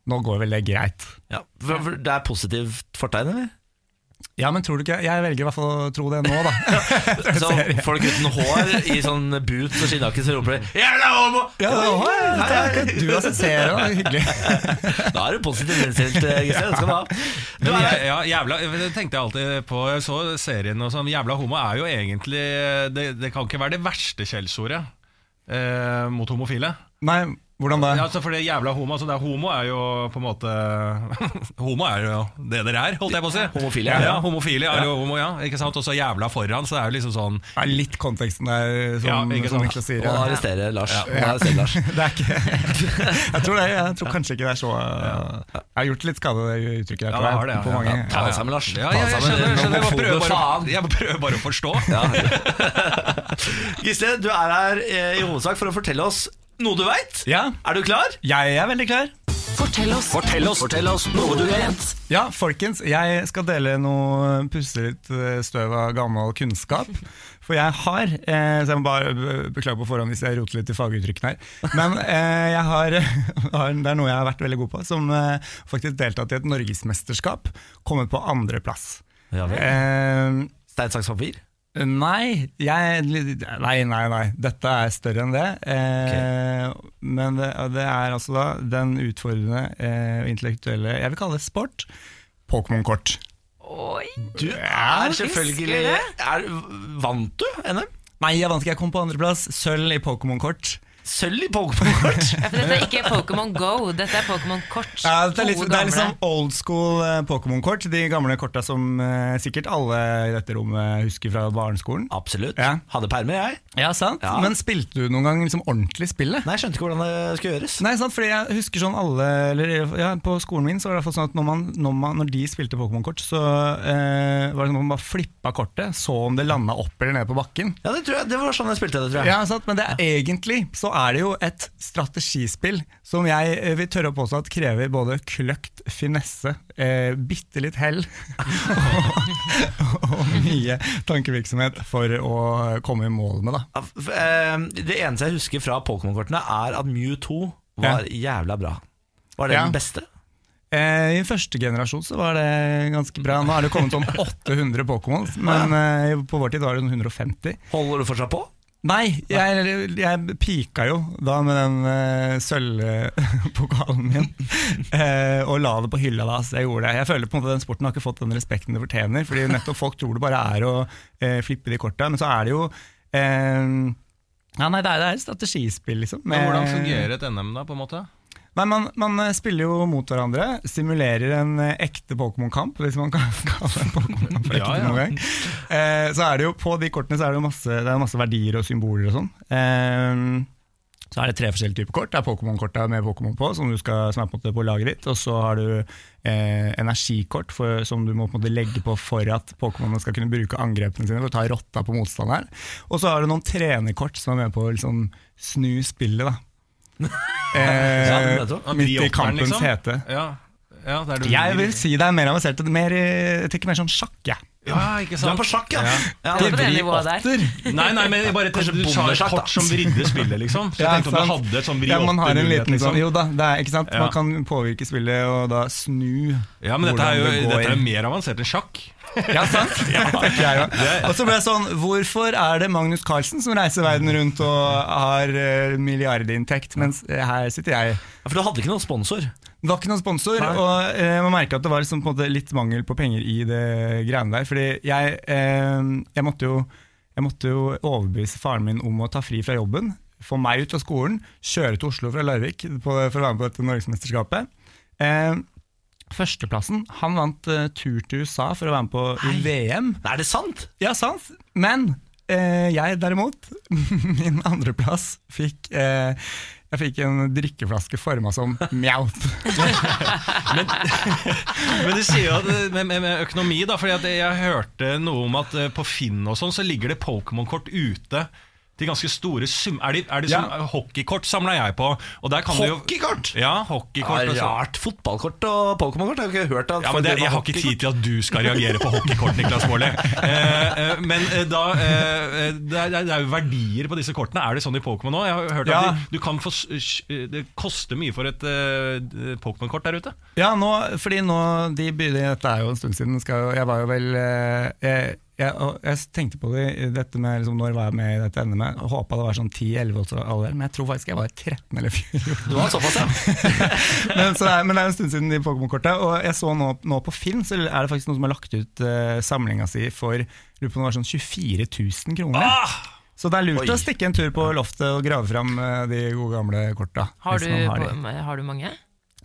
G: Nå går vel det greit.
A: Ja, for, for det er positivt fortegn, eller?
H: Ja, men tror du ikke Jeg velger i hvert fall å tro det nå, da.
A: Så folk uten hår i sånn boots og skinnjakke som roper Jævla homo!
H: Ja, det var, hei, hei, hei. Du har sett seere, det var hyggelig.
A: Da er du positivt innstilt, Gustav. Det skal du ha. Du
C: Men
A: er,
C: jæ- ja, jævla, det tenkte jeg alltid på. Jeg så serien og sånn. Jævla homo er jo egentlig Det, det kan ikke være det verste kjeldsordet eh, mot homofile.
H: Nei, hvordan da?
C: Ja, altså for det jævla homo, altså det er homo er jo på en måte Homo er jo det dere er, holdt jeg på å si.
A: Homofile,
C: Ja,
A: ja.
C: ja homofile er jo homo, ja. Ikke sant? Og så jævla foran, så det er jo liksom sånn
H: Det er litt konteksten der, som,
C: Ja, ikke
H: som
C: sant.
H: Niklas sier.
A: Må
H: Ja.
A: arrestere Lars. Må arrestere Lars.
H: Det er ikke Jeg tror, det, jeg tror kanskje ikke det er så Jeg har gjort litt skade, det uttrykket der.
C: Ja,
H: tror
C: det
H: jeg,
C: har det. Ja,
H: på
C: ja,
H: mange.
C: ja.
A: Ta deg sammen, Lars.
C: Ja,
A: Ta
C: ja,
A: deg
C: jeg
A: sammen.
C: skjønner, jeg skjønner. Jeg bare
A: Homofobe
C: prøver bare, å-
A: faen.
C: jeg bare prøver bare å forstå.
A: Gisle, du er her eh, i hovedsak for å fortelle oss noe du veit.
H: Ja,
A: Er du klar?
H: jeg er veldig klar.
I: Fortell oss.
J: Fortell oss, fortell oss noe du vet.
H: Ja, folkens, jeg skal dele noe pusse litt eh, støv av gammel kunnskap. For jeg har eh, Så jeg må bare eh, beklage på forhånd hvis jeg roter litt i faguttrykkene her. Men eh, jeg har, har Det er noe jeg har vært veldig god på, som eh, faktisk deltatt i et norgesmesterskap. Kommet på andreplass.
A: Ja, vel.
H: Eh,
A: Stein, saks, papir.
H: Nei, jeg, nei, nei, nei. Dette er større enn det. Eh, Men det, det er altså da den utfordrende eh, og intellektuelle Jeg vil kalle det sport. Pokémon-kort.
B: Oi,
A: Du er selvfølgelig er, Vant du NM?
H: Nei, jeg vant ikke. Jeg kom på andreplass. Sølv i Pokémon-kort.
A: Sølv i Pokémon-kort?
B: ja, for Dette er ikke Pokémon Go, dette er Pokémon Kort.
H: Ja, det, er litt,
B: Gode
H: det er
B: gamle.
H: liksom old school eh, Pokémon-kort. De gamle korta som eh, sikkert alle i dette rommet husker fra barneskolen.
A: Absolutt.
H: Ja.
A: Hadde permer, jeg.
H: Ja, sant?
A: Ja.
H: Men spilte du noen gang liksom ordentlig spillet?
A: Nei, skjønte ikke hvordan det skulle gjøres.
H: Nei, sant, fordi jeg husker sånn alle eller, ja, På skolen min så var det i hvert fall sånn at når, man, når, man, når de spilte Pokémon-kort, så eh, var det sånn at man bare flippa kortet, så om det landa opp eller ned på bakken.
A: Ja, det, tror jeg, det var sånn jeg spilte det, tror jeg.
H: Ja, sant, Men det er, egentlig så er det jo et strategispill som jeg eh, vil tørre å påstå at krever både kløkt, finesse, eh, bitte litt hell og, og mye tankevirksomhet for å komme i mål med, da.
A: Ja, f- eh, Det eneste jeg husker fra Pokémon-kortene, er at Mew 2 var jævla bra. Var det
H: Ja.
A: den beste?
H: Eh, I første generasjon så var det ganske bra. Nå er det kommet om 800 Pokémon, men eh, på vår tid var det sånn 150.
A: Holder du fortsatt på?
H: Nei, jeg, jeg pika jo da med den eh, sølvpokalen min, eh, og la det på hylla da. Så jeg gjorde det. Jeg føler på en måte den sporten har ikke fått den respekten det fortjener, fordi nettopp folk tror det bare er å eh, flippe de korta, men så er det jo eh, ja, nei, det er, det er et strategispill, liksom.
C: Men hvordan
H: med-
C: fungerer et NM, da? på en måte?
H: Nei, man, man eh, spiller jo mot hverandre, simulerer en eh, ekte Pokémon-kamp, hvis man kan kalle en Pokémon-kamp ekte
C: Ja, ja.
H: noen gang. Eh, så er det jo, På de kortene så er det jo masse, det er masse verdier og symboler og sånn. Eh, så er det tre forskjellige typer kort. Det er Pokémon-korta med Pokémon på, som, du skal, som er på, en måte på laget ditt. Og så har du eh, energikort for, som du må på en måte legge på for at Pokémonene skal kunne bruke angrepene sine for å ta rotta på motstanderen. Og så har du noen trenerkort som er med på å liksom, snu spillet. da. Eh,
A: Ja, nettopp.
H: midt i
C: Biopperen,
H: kampens
C: liksom?
H: hete.
C: Ja, ja det er du
H: Jeg vil si det er mer avansert. det er Mer, eh, jeg tenker mer sånn sjakk, jeg.
C: Ja,
A: Du
C: ikke sant?
A: er på sjakk, ja. ja.
B: Det er på det
H: Vri
B: nivået der.
H: åtter.
C: Nei, nei, men jeg bare tenkte du sa et
A: bondesjakk, da.
C: kort som vridde spillet, liksom. Så jeg
H: Ja,
C: tenkte om du
H: sant.
C: hadde et sånn
H: Ja, man har en
C: vriåtte-mulighet,
H: liten sånn
C: liksom.
H: Jo da, det er, ikke sant?
C: Ja.
H: man kan påvirke spillet og da snu
C: Ja, men dette er jo
H: hvordan det går.
C: dette er mer avansert enn sjakk.
H: Ja, sant? Tenker jeg jo. Og så ble jeg sånn, hvorfor er det Magnus Carlsen som reiser verden rundt og har eh, milliardinntekt, mens eh, her sitter jeg?
A: For du hadde ikke noen sponsor.
H: Det var ikke noen sponsor, og eh, man merka at det var liksom på en måte litt mangel på penger i det greiene der. Fordi jeg, eh, jeg, måtte jo, jeg måtte jo overbevise faren min om å ta fri fra jobben, få meg ut av skolen, kjøre til Oslo fra Larvik på, for å være med på dette norgesmesterskapet. Eh, førsteplassen Han vant eh, tur til USA for å være med på i VM.
A: Nei, er det sant?
H: Ja, sant. Men eh, jeg derimot, min andreplass, fikk eh, jeg fikk en drikkeflaske forma som mjaut.
C: Men du sier jo at eh, med, med, med økonomi, da. For jeg hørte noe om at eh, på Finn og sånn så ligger det Pokémon-kort ute Til ganske store sum... Er det, er det
G: Ja.
C: sånn- hockeykort samla jeg på. Og der kan Du jo,
A: Hockeykort!
C: ja, hockeykort
A: Det
C: og
A: er
C: så-
A: rart. Fotballkort og Pokémon-kort har jeg ikke hørt. At
C: Ja, men det, Jeg har ikke tid til at du skal reagere på hockeykort, Niklas Baarli. Eh, eh, men eh, da eh, eh, det, er, det er jo verdier på disse kortene. Er det sånn i Pokémon òg? Jeg har hørt
G: Ja.
C: at de, du kan få, s- s- det koster mye for et eh, Pokémon-kort der ute.
G: Ja, nå, fordi nå de begynner, Dette er jo en stund siden. Skal, jo- jeg var jo vel eh, Jeg, jeg, og jeg tenkte på det, dette med liksom, når var jeg med i dette NM-et. Håpa det var sånn 10-11 års alder, men jeg tror faktisk jeg var 13 eller 14.
A: Du har såpass, ja.
G: men, så det er, men det er en stund siden de Pokémon-korta. Og jeg så nå, nå på Finn, så er det faktisk noen som har lagt ut uh, samlinga si for lurer på om det var sånn 24 000 kroner.
A: Ah!
G: Så det er lurt å stikke en tur på loftet og grave fram eh, de gode gamle korta.
B: Har
G: hvis
B: du,
G: man de.
B: har du mange?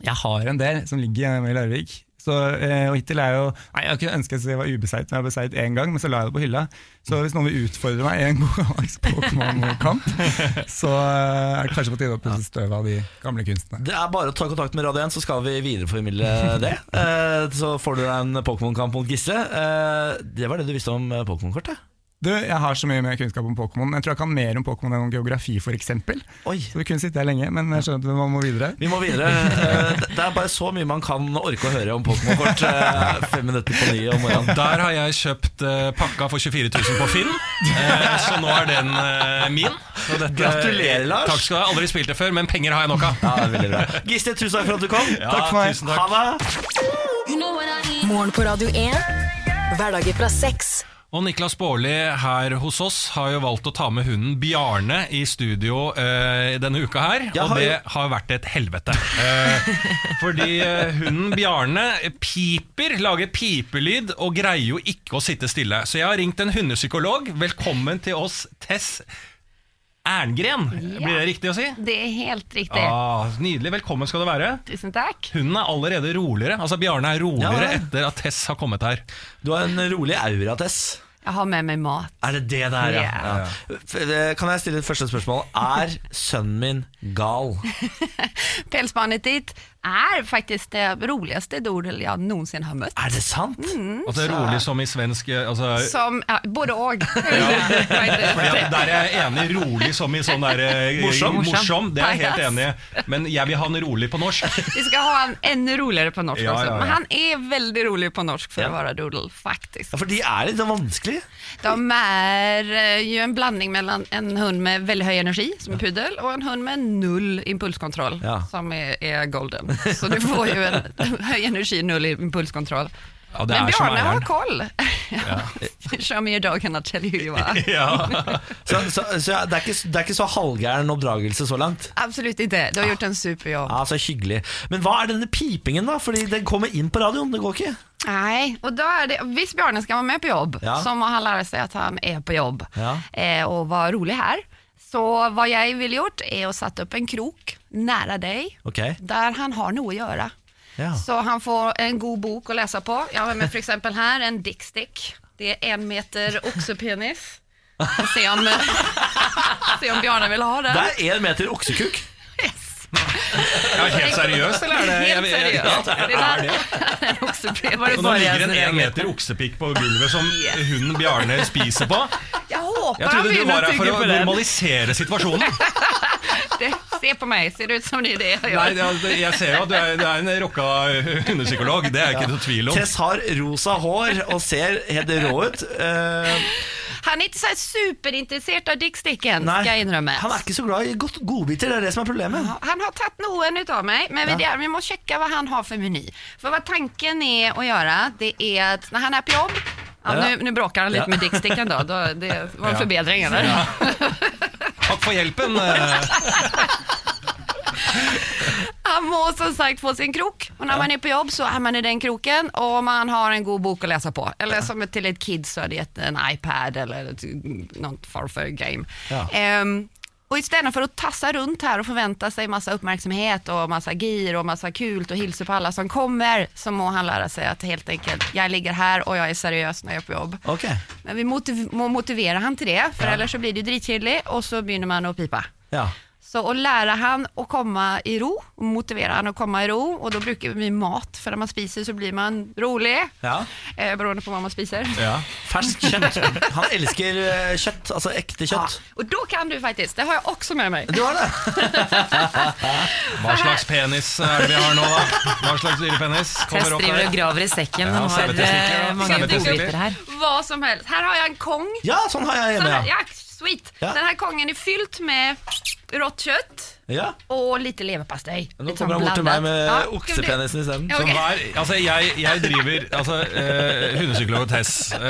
G: Jeg har en del som ligger hjemme i Larvik. Så, eh, og hittil er jeg jo Nei, jeg kunne ønske jeg var ubeseiret, men jeg har beseiret én gang, men så la jeg det på hylla. Så hvis noen vil utfordre meg i en god gammeldags Pokémon-kamp, så eh, er det kanskje på tide å pusse støvet av de gamle kunstene.
A: Det er bare å ta kontakt med Radio 1, så skal vi videreformidle det. Eh, Så får du deg en Pokémon-kamp mot Gisle. Eh, Det var det du visste om eh, Pokémon-kortet.
G: Du, jeg har så mye mer kunnskap om Pokémon. Jeg tror jeg kan mer om Pokémon enn om geografi, f.eks. Så
A: Oi
G: vi kunne sittet her lenge, men jeg skjønner at man må videre.
A: vi må videre. Eh, Det det er bare så mye man kan orke å høre om Pokémon-kort. eh, Fem minutter på ni om morgenen.
C: Der har jeg kjøpt eh, pakka for 24 000 på Finn, eh, så nå er den eh, min. Og dette-
A: Gratulerer, Lars.
C: Takk skal du ha. Aldri spilt det før, men penger har jeg nok av.
A: Ja, det er veldig bra. Gisle, tusen takk for at du kom.
G: Takk for meg.
C: tusen takk.
A: Ha det.
D: Morgen på Radio 1. Hverdager fra seks.
C: Og Niklas Baarli her hos oss har jo valgt å ta med hunden Bjarne i studio eh, denne uka her,
A: Jeg
C: og
A: har jo-
C: det har vært et helvete. Eh, fordi eh, hunden Bjarne piper, lager pipelyd og greier jo ikke å sitte stille. Så jeg har ringt en hundepsykolog. Velkommen til oss, Tess Erngren. Blir det riktig å si?
H: Det er helt riktig.
C: Ah, nydelig. Velkommen skal du være.
H: Tusen takk.
C: Hunden er allerede roligere. Altså Bjarne er roligere
A: Ja, ja.
C: etter at Tess har kommet her.
A: Du har en rolig aura, Tess.
H: Jeg har med meg mat.
A: Er det det det er, ja?
H: Ja.
A: ja. F- eh, Kan jeg stille et første spørsmål? Er sønnen min gal?
H: Pälsbarnet ditt er faktisk det roligste dodel jeg noensinne har møtt.
A: Er det sant?
C: Altså rolig som i svensk eh, altså,
H: Som ja, Både og.
C: Fordi at der er jeg enig rolig som i sånn der eh,
A: Morsom.
C: morsom. Det er jeg helt
H: Pajas.
C: enig i. Men jeg vil ha den rolig på norsk.
H: Vi skal ha han enda roligere på norsk
C: Ja,
H: også.
C: ja, ja.
H: Men han er veldig rolig på norsk for
A: Ja.
H: å være doodle,
A: Ja,
H: faktisk.
A: for de er litt vanskelig.
H: De er eh, jo en blanding mellom en hund med veldig høy energi, som er puddel, og en hund med null impulskontroll,
A: Ja.
H: som er, er golden. Så du får jo en høy energi, null impulskontroll.
C: Ja, det
H: Men
C: er som
H: Bjarne har
C: eieren.
H: koll. Show me your dog and I'll tell you who you are.
A: Så, så, så ja, det, er ikke, det er ikke så halvgæren oppdragelse så langt.
H: Absolutt ikke.
C: Ah.
H: Du har gjort en superjobb.
A: Ja, så hyggelig. Men hva er denne pipingen, da? Fordi den kommer inn på radioen, det går ikke.
H: Nei, og da er det, hvis Bjarne skal være med på jobb,
A: Ja.
H: så må han lære seg at han er på jobb,
A: Ja.
H: eh, og være rolig her. Så hva jeg ville gjort, er å sette opp en krok nære deg,
A: Ok,
H: der han har noe å gjøre.
A: ja.
H: Så han får en god bok å lese på. Jeg har med for eksempel her en dickstick. Det er en meter oksepenis. Vi får Se om, se om Bjarne vil ha den.
A: Det er én meter oksekuk.
C: Ja, helt seriøst, eller? Er det, jeg,
H: Helt
C: jeg,
H: seriøst. Det der er en
C: og nå
H: oksepenis.
C: ligger en én meter oksepikk på gulvet som hunden Bjarne spiser på.
H: Jeg håper
C: Jeg
H: han
C: trodde du
H: begynner
C: var
H: å
C: her for
H: tygge
C: å
H: på den.
C: normalisere situasjonen.
H: Det, se på meg, ser det ut som det er det jeg
C: Nei,
H: gjør?
C: det- Jeg ser jo at du er, du er en rocka hundepsykolog, det er jeg ikke noe tvil om.
A: Tess har rosa hår og ser helt rå ut. Eh,
H: Han er ikke så superinteressert av dicksticken,
A: nei,
H: skal jeg innrømme.
A: han er ikke så glad i godt godbiter, det er det som er problemet.
H: Han har tatt noen ut av meg, men vi, det, vi må sjekke hva han har for meny. For hva tanken er å gjøre, det er at når han er på jobb ja,
A: Ja.
H: Nu, nu bråker han litt med dicksticken, da. da. Det var en
C: Ja.
H: forbedring, eller?
C: Takk for hjelpen. eh.
H: Han må som sagt få sin krok, og når man er på jobb, så er man i den kroken, og man har en god bok å lese på. Eller som til et kid, så er det et- en iPad eller et, noen form for game.
A: Ja.
H: Ehm, og i stedet for å tasse rundt her og forvente seg masse oppmerksomhet og masse gir og masse kult og hilse på alle som kommer, så må han lære seg at helt enkelt, jeg ligger her og jeg er seriøs når jeg er på jobb.
A: Ok,
H: Men vi motiv må motivere han til det, for ellers så blir det jo dritkjedelig, og så begynner man å pipe.
A: ja
H: Så å lære han å komme i ro, motivere han å komme i ro, og da bruker vi mat, for når man spiser så blir man rolig,
A: Ja.
H: eh, beroende på hva man spiser.
A: Ferskt kjøtt. Han elsker eh, kjøtt, altså ekte kjøtt.
H: Og da kan du faktisk, det har jeg også med meg.
A: Du har det?
C: Hva slags penis er det vi har nå, da? Hva slags dyrepenis
B: Tess
C: kommer opp
B: driver og
C: der?
B: graver i sekken.
C: Ja,
B: Han har
C: sauetestikler,
B: eh,
C: ja.
B: mange
C: Sauetestikler.
B: godbiter her.
H: Hva som helst. Her har jeg en kong.
A: Ja, sånn har jeg hjemme,
H: Sånn her-
A: ja.
H: ja. sweet.
A: Ja.
H: Den her kongen er fylt med rått kjøtt
A: Ja.
H: og litt leverpastei.
A: Nå
H: Litt sånn
A: kommer han bort til meg
H: blandet.
A: med
H: Ja, skal vi-
A: oksepenisen isteden.
H: Ja, ok.
C: Så hver, altså jeg, jeg driver altså, eh, Hundepsykolog Tess, eh,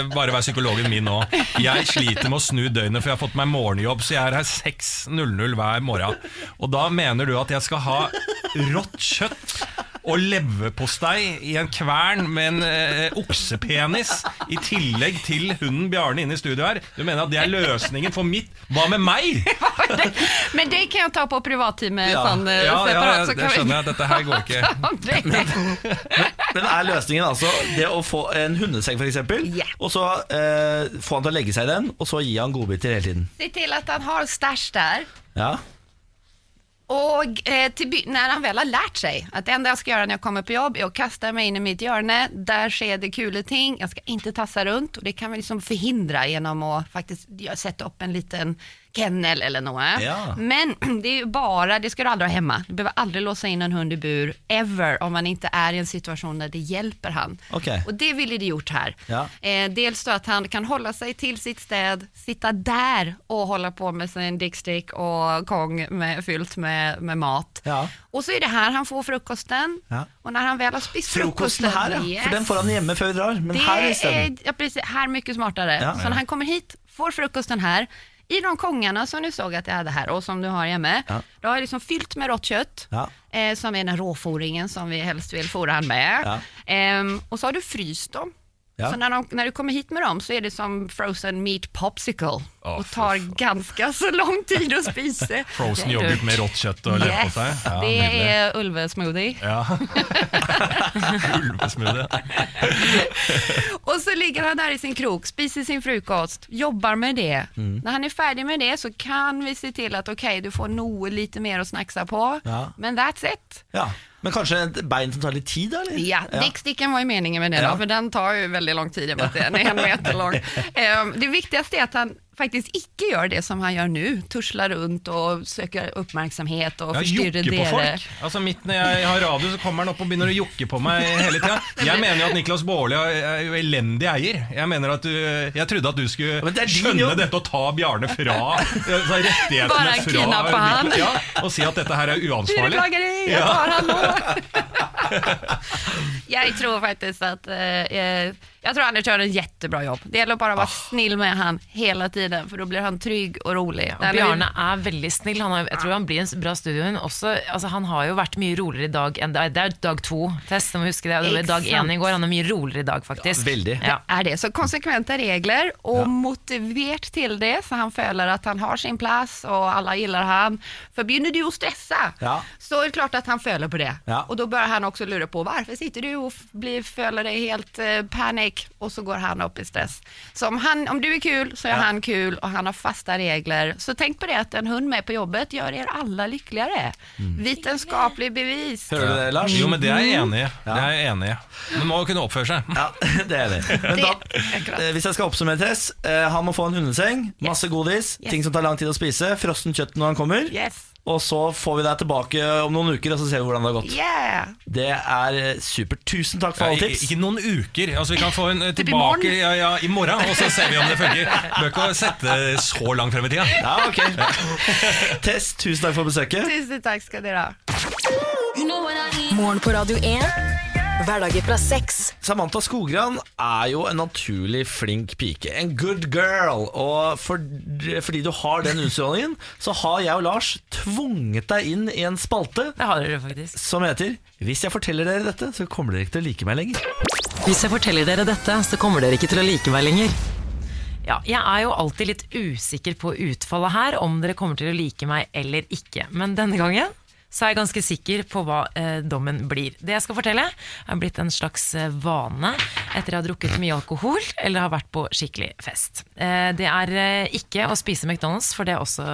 C: eh, bare vær psykologen min nå. Jeg sliter med å snu døgnet, for jeg har fått meg morgenjobb, så jeg er her 6.00 hver morgen. Og da mener du at jeg skal ha rått kjøtt og leverpostei i en kvern med en eh, oksepenis, i tillegg til hunden Bjarne inne i studio her? Du mener at det er løsningen for mitt Hva med meg?
H: Men det kan jeg ta på privattime
C: Ja.
H: sånn eh,
C: Ja, ja,
H: separat.
C: ja,
H: så
C: det
H: kan vi
C: skjønner jeg. Dette her går ikke.
H: prate om det.
A: Men er løsningen altså det å få en hundeseng, f.eks., eksempel
H: Ja.
A: og så eh, få han til å legge seg i den, og så gi han godbiter hele tiden?
H: Se til at han har stæsj der.
A: Ja.
H: Og eh, til by- når han vel har lært seg at det enda jeg skal gjøre når jeg kommer på jobb, er å kaste meg inn i mitt hjørne, der skjer det kule ting, jeg skal ikke tasse rundt, og det kan vi liksom forhindre gjennom å faktisk gjøre- sette opp en liten kennel eller noe.
A: Ja.
H: Men det er jo bare, det skal du aldri ha hjemme. Du behøver aldri låse inn en hund i bur, ever, om man ikke er i en situasjon der det hjelper han.
A: Ok.
H: Og det ville det gjort her.
A: Ja.
H: Eh, dels då att han kan hålla sig till sitt städ, sitta där och hålla på med sin dickstick och kong med, fyllt med, med mat.
A: Ja.
H: Och så är det här han får frukosten
A: Ja.
H: och när han väl har spist
A: Frokosten
H: frukosten,
A: her, ja.
H: Yes.
A: For den får han hjemme før vi drar. Men
H: det
A: her isteden.
H: är, ja, precis, här mycket smartare.
A: Ja.
H: så när han kommer hit, får frukosten här, i de kongarna som du såg att jag hade här och som du har hemma,
A: Ja.
H: då har jag liksom fyllt med rått kött,
A: Ja.
H: eh, som är den råforingen som vi helst vill fora han med.
A: Ja.
H: Ehm, och så har du fryst dem.
A: Ja.
H: Så när, de, när du kommer hit med dem så är det som frozen meat popsicle och tar ganska så lång tid att spisa.
C: Frozen yoghurt med rått kjøtt og
H: Yes,
C: leverpostei? Ja,
H: det
C: nydelig.
H: är ulvesmoothie.
C: Ulvesmoothie.
H: Och så ligger han där i sin krok, spiser sin frukost, jobbar med det.
C: Mm.
H: När han är färdig med det så kan vi se till att okej, du får nog lite mer att snacksa på.
A: Ja.
H: Men that's it.
A: Ja. Men kanskje et bein som tar litt tid, da? Eller?
H: Ja, dicksticken var ju meningen med den,
A: Ja.
H: då, för den tar ju väldigt lång tid i och med att den är en meter lång. Ehm, det viktigaste är att han faktiskt icke gör det som han gör nu, tuschlar runt och söker uppmärksamhet och
C: Ja,
H: förstyrrar
C: jokke på
H: dere.
C: folk. Altså Midt når jeg har radio, så kommer han opp og begynner å jokke på meg hele tida. Jeg mener jo at Niklas Baarli er- er jo elendig eier. Jeg mener at du, jeg trodde at du skulle
A: men det er din
C: skjønne
A: jobb.
C: dette og ta Bjarne fra altså, rettighetene
H: Bare
C: fra
H: kidnappe han.
C: Ja, og si at dette her er uansvarlig.
H: Dyrplageri, jeg tar han nå! jeg tror faktisk at eh, Jeg tror Anders gjør en jättebra jobb. Det gjelder å bare være
C: Ah.
H: snill med han hele tiden, for da blir han trygg og rolig.
B: Og Bjarne er veldig snill. Han har, jeg tror han blir en bra studiohund. Også, altså, han har jo vært mye roligere i dag enn Det er dag to, Tess. Du må huske det. Det var dag
H: Ikke sant.
B: én i går. Han er mye roligere i dag, faktisk.
A: Ja, veldig.
B: Ja.
H: er det. Så konsekvente regler, og motivert til det, så han føler at han har sin plass, og alle gillar han. For begynner du å stresse,
A: Ja.
H: så er det klart at han føler på det.
A: Ja.
H: Og da bør han også lure på hvorfor sitter du og f- blir, føler deg helt eh, panikk, og så går han opp i stress. Så om, han, om du er kul, så er han kul, og han har faste regler. Så tenk på det at en hund med på jobbet gjør dere alle lykkeligere.
A: Mm.
H: Vitenskapelig bevis.
A: Hører du det, Lars?
C: Jo, men det er jeg enig i. Det er jeg enig i. Men må jo kunne oppføre seg.
A: Ja, det er det. Men da, eh, hvis jeg skal oppsummere Tess, eh, han må få en hundeseng, masse godis, ting som tar lang tid å spise, frossen kjøtt når han kommer,
H: Yes.
A: og så får vi deg tilbake om noen uker, og så ser vi hvordan det har gått.
H: Yeah!
A: Det er eh, supert. Tusen takk for
C: Ja,
A: alle
C: i-
A: tips.
C: Ikke noen uker. Altså Vi kan få en eh,
H: blir
C: tilbake
H: morgen.
C: ja, ja, i morgen, og så ser vi om det funker. Bør ikke sette så langt frem i tida.
A: Ja, ok. Tess, tusen takk for besøket.
H: Tusen takk skal dere ha.
D: Morgen på Radio 1. Hverdager fra seks.
A: Samantha Skogran er jo en naturlig flink pike. En good girl. Og for, fordi du har den utstrålingen, så har jeg og Lars tvunget deg inn i en spalte
B: Det har dere faktisk.
A: som heter Hvis jeg forteller dere dette, så kommer dere ikke til å like meg lenger.
B: Hvis jeg forteller dere dette, så kommer dere ikke til å like meg lenger. Ja, jeg er jo alltid litt usikker på utfallet her, om dere kommer til å like meg eller ikke. Men denne gangen så er jeg ganske sikker på hva eh, dommen blir. Det jeg skal fortelle, er blitt en slags eh, vane etter jeg har drukket mye alkohol eller har vært på skikkelig fest. Eh, det er eh, ikke å spise McDonald's, for det er også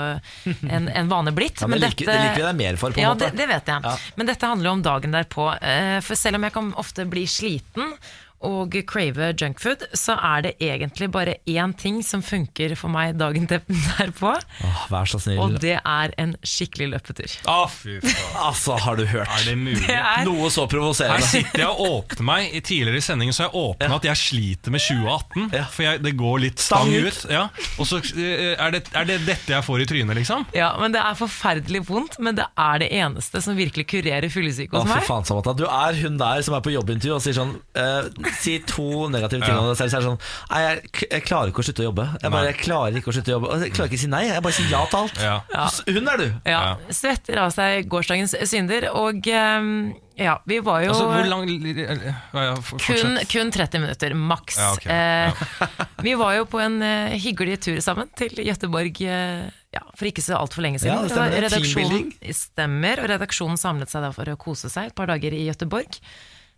B: en, en vane blitt.
A: Ja, men liker- det liker vi deg mer for, på en
B: ja,
A: måte.
B: Det, det vet jeg. Men dette handler om dagen derpå. eh, For selv om jeg kan ofte bli sliten og crave junkfood, så er det egentlig bare én ting som funker for meg dagen der- derpå.
A: Åh, vær så snill.
B: Og det er en skikkelig løpetur.
A: altså, har du hørt?
C: Er det mulig?
B: Det er-
A: Noe så provoserende.
C: Her sitter jeg og åpner meg. I tidligere i sendingen så har jeg åpna at jeg sliter med 2018. For jeg, det går litt stang,
B: Stang
C: ut. Ja. Og så eh, er det, er det dette jeg får i trynet, liksom?
B: Ja, men Det er forferdelig vondt, men det er det eneste som virkelig kurerer fyllesyke
A: Å,
B: hos
A: fy
B: meg.
A: faen, Samantha. Du er hun der som er på jobbintervju og sier sånn eh, Si to negative ting
C: Ja.
A: om deg selv. Så er det sånn Nei, jeg, k- jeg klarer ikke å slutte å jobbe. Jeg, bare, jeg klarer ikke å slutte å jobbe. Og Jeg klarer ikke å si nei. Jeg bare sier ja til alt. Hun er du.
B: Ja, Svetter av seg gårsdagens synder, og ehm, ja, vi var jo
C: Altså, hvor lang ja, ja, for-
B: Kun,
C: fortsett.
B: kun 30 minutter, maks.
C: Ja, ok.
B: eh, vi var jo på en eh, hyggelig tur sammen til Gøteborg eh, ja, for ikke så altfor lenge
A: Ja,
B: siden.
A: det stemmer, det
B: var
A: er
B: redaksjonen, stemmer, og redaksjonen samlet seg da for å kose seg et par dager i Gøteborg.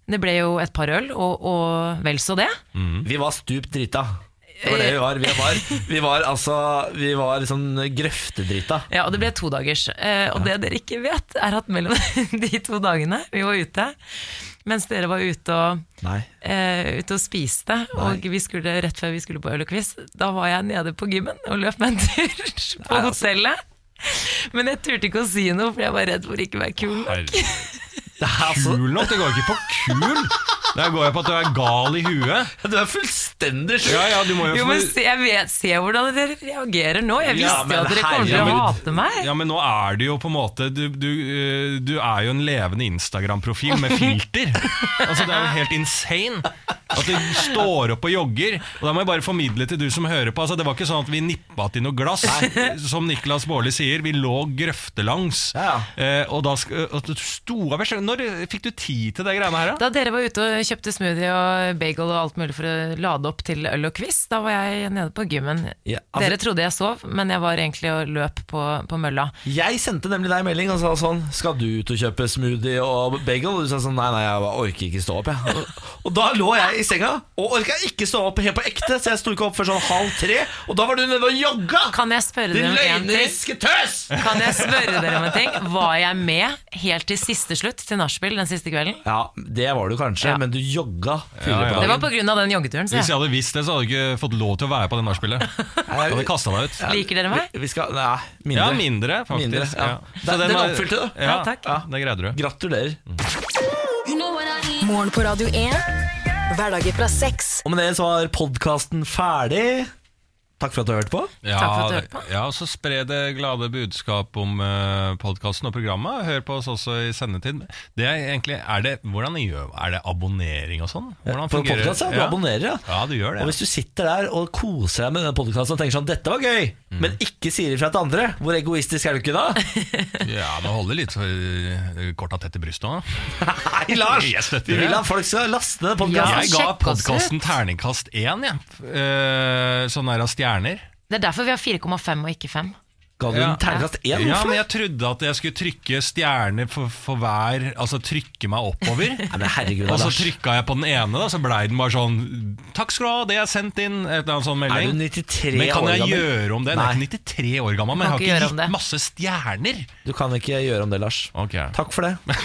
B: Det ble jo et par øl, og, og vel så det.
A: Vi var stupt drita. Det var det vi var. Vi var, vi var altså Vi var liksom grøftedrita.
B: Ja, og det ble to dagers. Eh, og det dere ikke vet, er at mellom de to dagene vi var ute, mens dere var ute og,
A: Nei.
B: eh, ute og spiste, og vi skulle, rett før vi skulle på Ølequiz, da var jeg nede på gymmen og løp meg en tur på
C: altså.
B: hotellet. Men jeg turte ikke å si noe, for jeg var redd for ikke å være kul.
C: Kul nok? Det går ikke på kul! Der går jeg på at du er gal i huet.
A: Du er fullstendig sjuk.
C: Ja, ja, du må jo,
B: Jo,
C: få-
B: men se, jeg vet, se hvordan dere reagerer nå. Jeg
C: Altså, Ja,
B: visste jo
C: men
B: at dere kom til å
C: herregud.
B: hate meg.
C: Ja, men nå er du jo på en måte Du, du, eh, du er jo en levende Instagram-profil med filter. Altså, Det er jo helt insane. At du står opp og jogger. Og da må jeg bare formidle til du som hører på. Altså, Det var ikke sånn at vi nippa til noe glass. Som Niklas Baarli sier, vi lå grøftelangs.
A: Ja,
C: Eh, og da sk- og du sto av Når fikk du tid til de greiene her, da?
B: Da dere var ute og kjøpte smoothie og bagel og alt mulig for å lade opp til øl og quiz, da var jeg nede på gymmen.
A: Ja, altså-
B: dere trodde jeg sov, men jeg var egentlig og løp på, på mølla.
A: Jeg sendte nemlig deg en melding og sa sånn Skal du ut og kjøpe smoothie og bagel? Og du sa sånn Nei, nei, jeg bare orker ikke stå opp, jeg. Og- Og da lå jeg i senga og orka ikke stå opp helt på ekte, så jeg sto ikke opp før sånn halv tre. Og da var du nede og jogga!
B: Kan jeg spørre
A: Din
B: dere om en ting?
A: løgneriske tøs!
B: Kan jeg spørre dere om en ting? Var jeg med helt til siste slutt, til nachspiel den siste kvelden?
A: Ja, det var du kanskje,
B: Ja.
A: men du jogga.
C: Ja, ja.
B: Det var på grunn av den joggeturen, så
C: Hvis jeg
B: jeg
C: hadde visst det, så hadde du ikke fått lov til å være på det nachspielet. Jeg hadde kasta deg ut.
B: Liker dere meg?
A: Vi, vi skal Nei, mindre.
C: Ja, mindre, faktisk.
A: Mindre, ja.
C: Ja.
A: Det- den
C: var-
A: oppfylte du.
C: Ja,
B: Ja, takk.
C: ja, det greide du.
A: Gratulerer.
D: Morgen på Radio 1. Hverdager fra seks.
A: Og med det så var podkasten ferdig. Takk for at du hørte på.
C: Ja,
B: Takk for at du hørte på.
C: det- Ja, og så spre det glade budskap om podkasten og programmet. Hør på oss også i sendetid. Det er egentlig, er det, hvordan gjør, er det abonnering og sånn? Hvordan
A: På podcast, ja. Du abonnerer, ja.
C: Ja, du gjør
A: Og
C: det.
A: hvis du sitter der og koser deg med denne podkasten og tenker sånn 'dette var gøy', men ikke sier ifra til andre, hvor egoistisk er du ikke da?
C: Ja, men holder litt eh, korta tett i brystet òg.
A: Nei, Lars!
C: Jeg støtter
A: Vi
C: det.
A: vil at folk skal laste ned
B: Ja.
A: podkasten.
C: Jeg ga
B: sjekk oss ut.
C: podkasten terningkast én, jeg. Eh, Sånn der av stjerner.
B: Det er derfor vi har 4,5 og ikke 5.
A: Ga du
C: Ja.
A: den terningkast én?
C: Ja,
A: Hvorfor?
C: men jeg trodde at jeg skulle trykke stjerner for, for hver Altså trykke meg oppover.
A: Nei, men herregud,
C: Og så
A: Lars.
C: trykka jeg på den ene, da, så blei den bare sånn 'Takk skal du ha, det er sendt inn.' Et eller annet sånn
A: Er du
C: melding.
A: 93
C: Men kan
A: år
C: jeg
A: gammel?
C: gjøre om det? Nei,
A: Nei,
C: jeg er ikke 93 år gammel, men
B: Kan
C: jeg har
B: ikke
C: ikke
B: gjøre om det.
C: gitt masse stjerner.
A: du kan ikke gjøre om det, Lars.
C: Ok
A: Takk for det.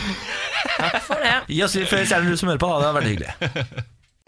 B: For det.
A: Gi oss litt flere stjerner, du som hører på. Da. Det var veldig hyggelig.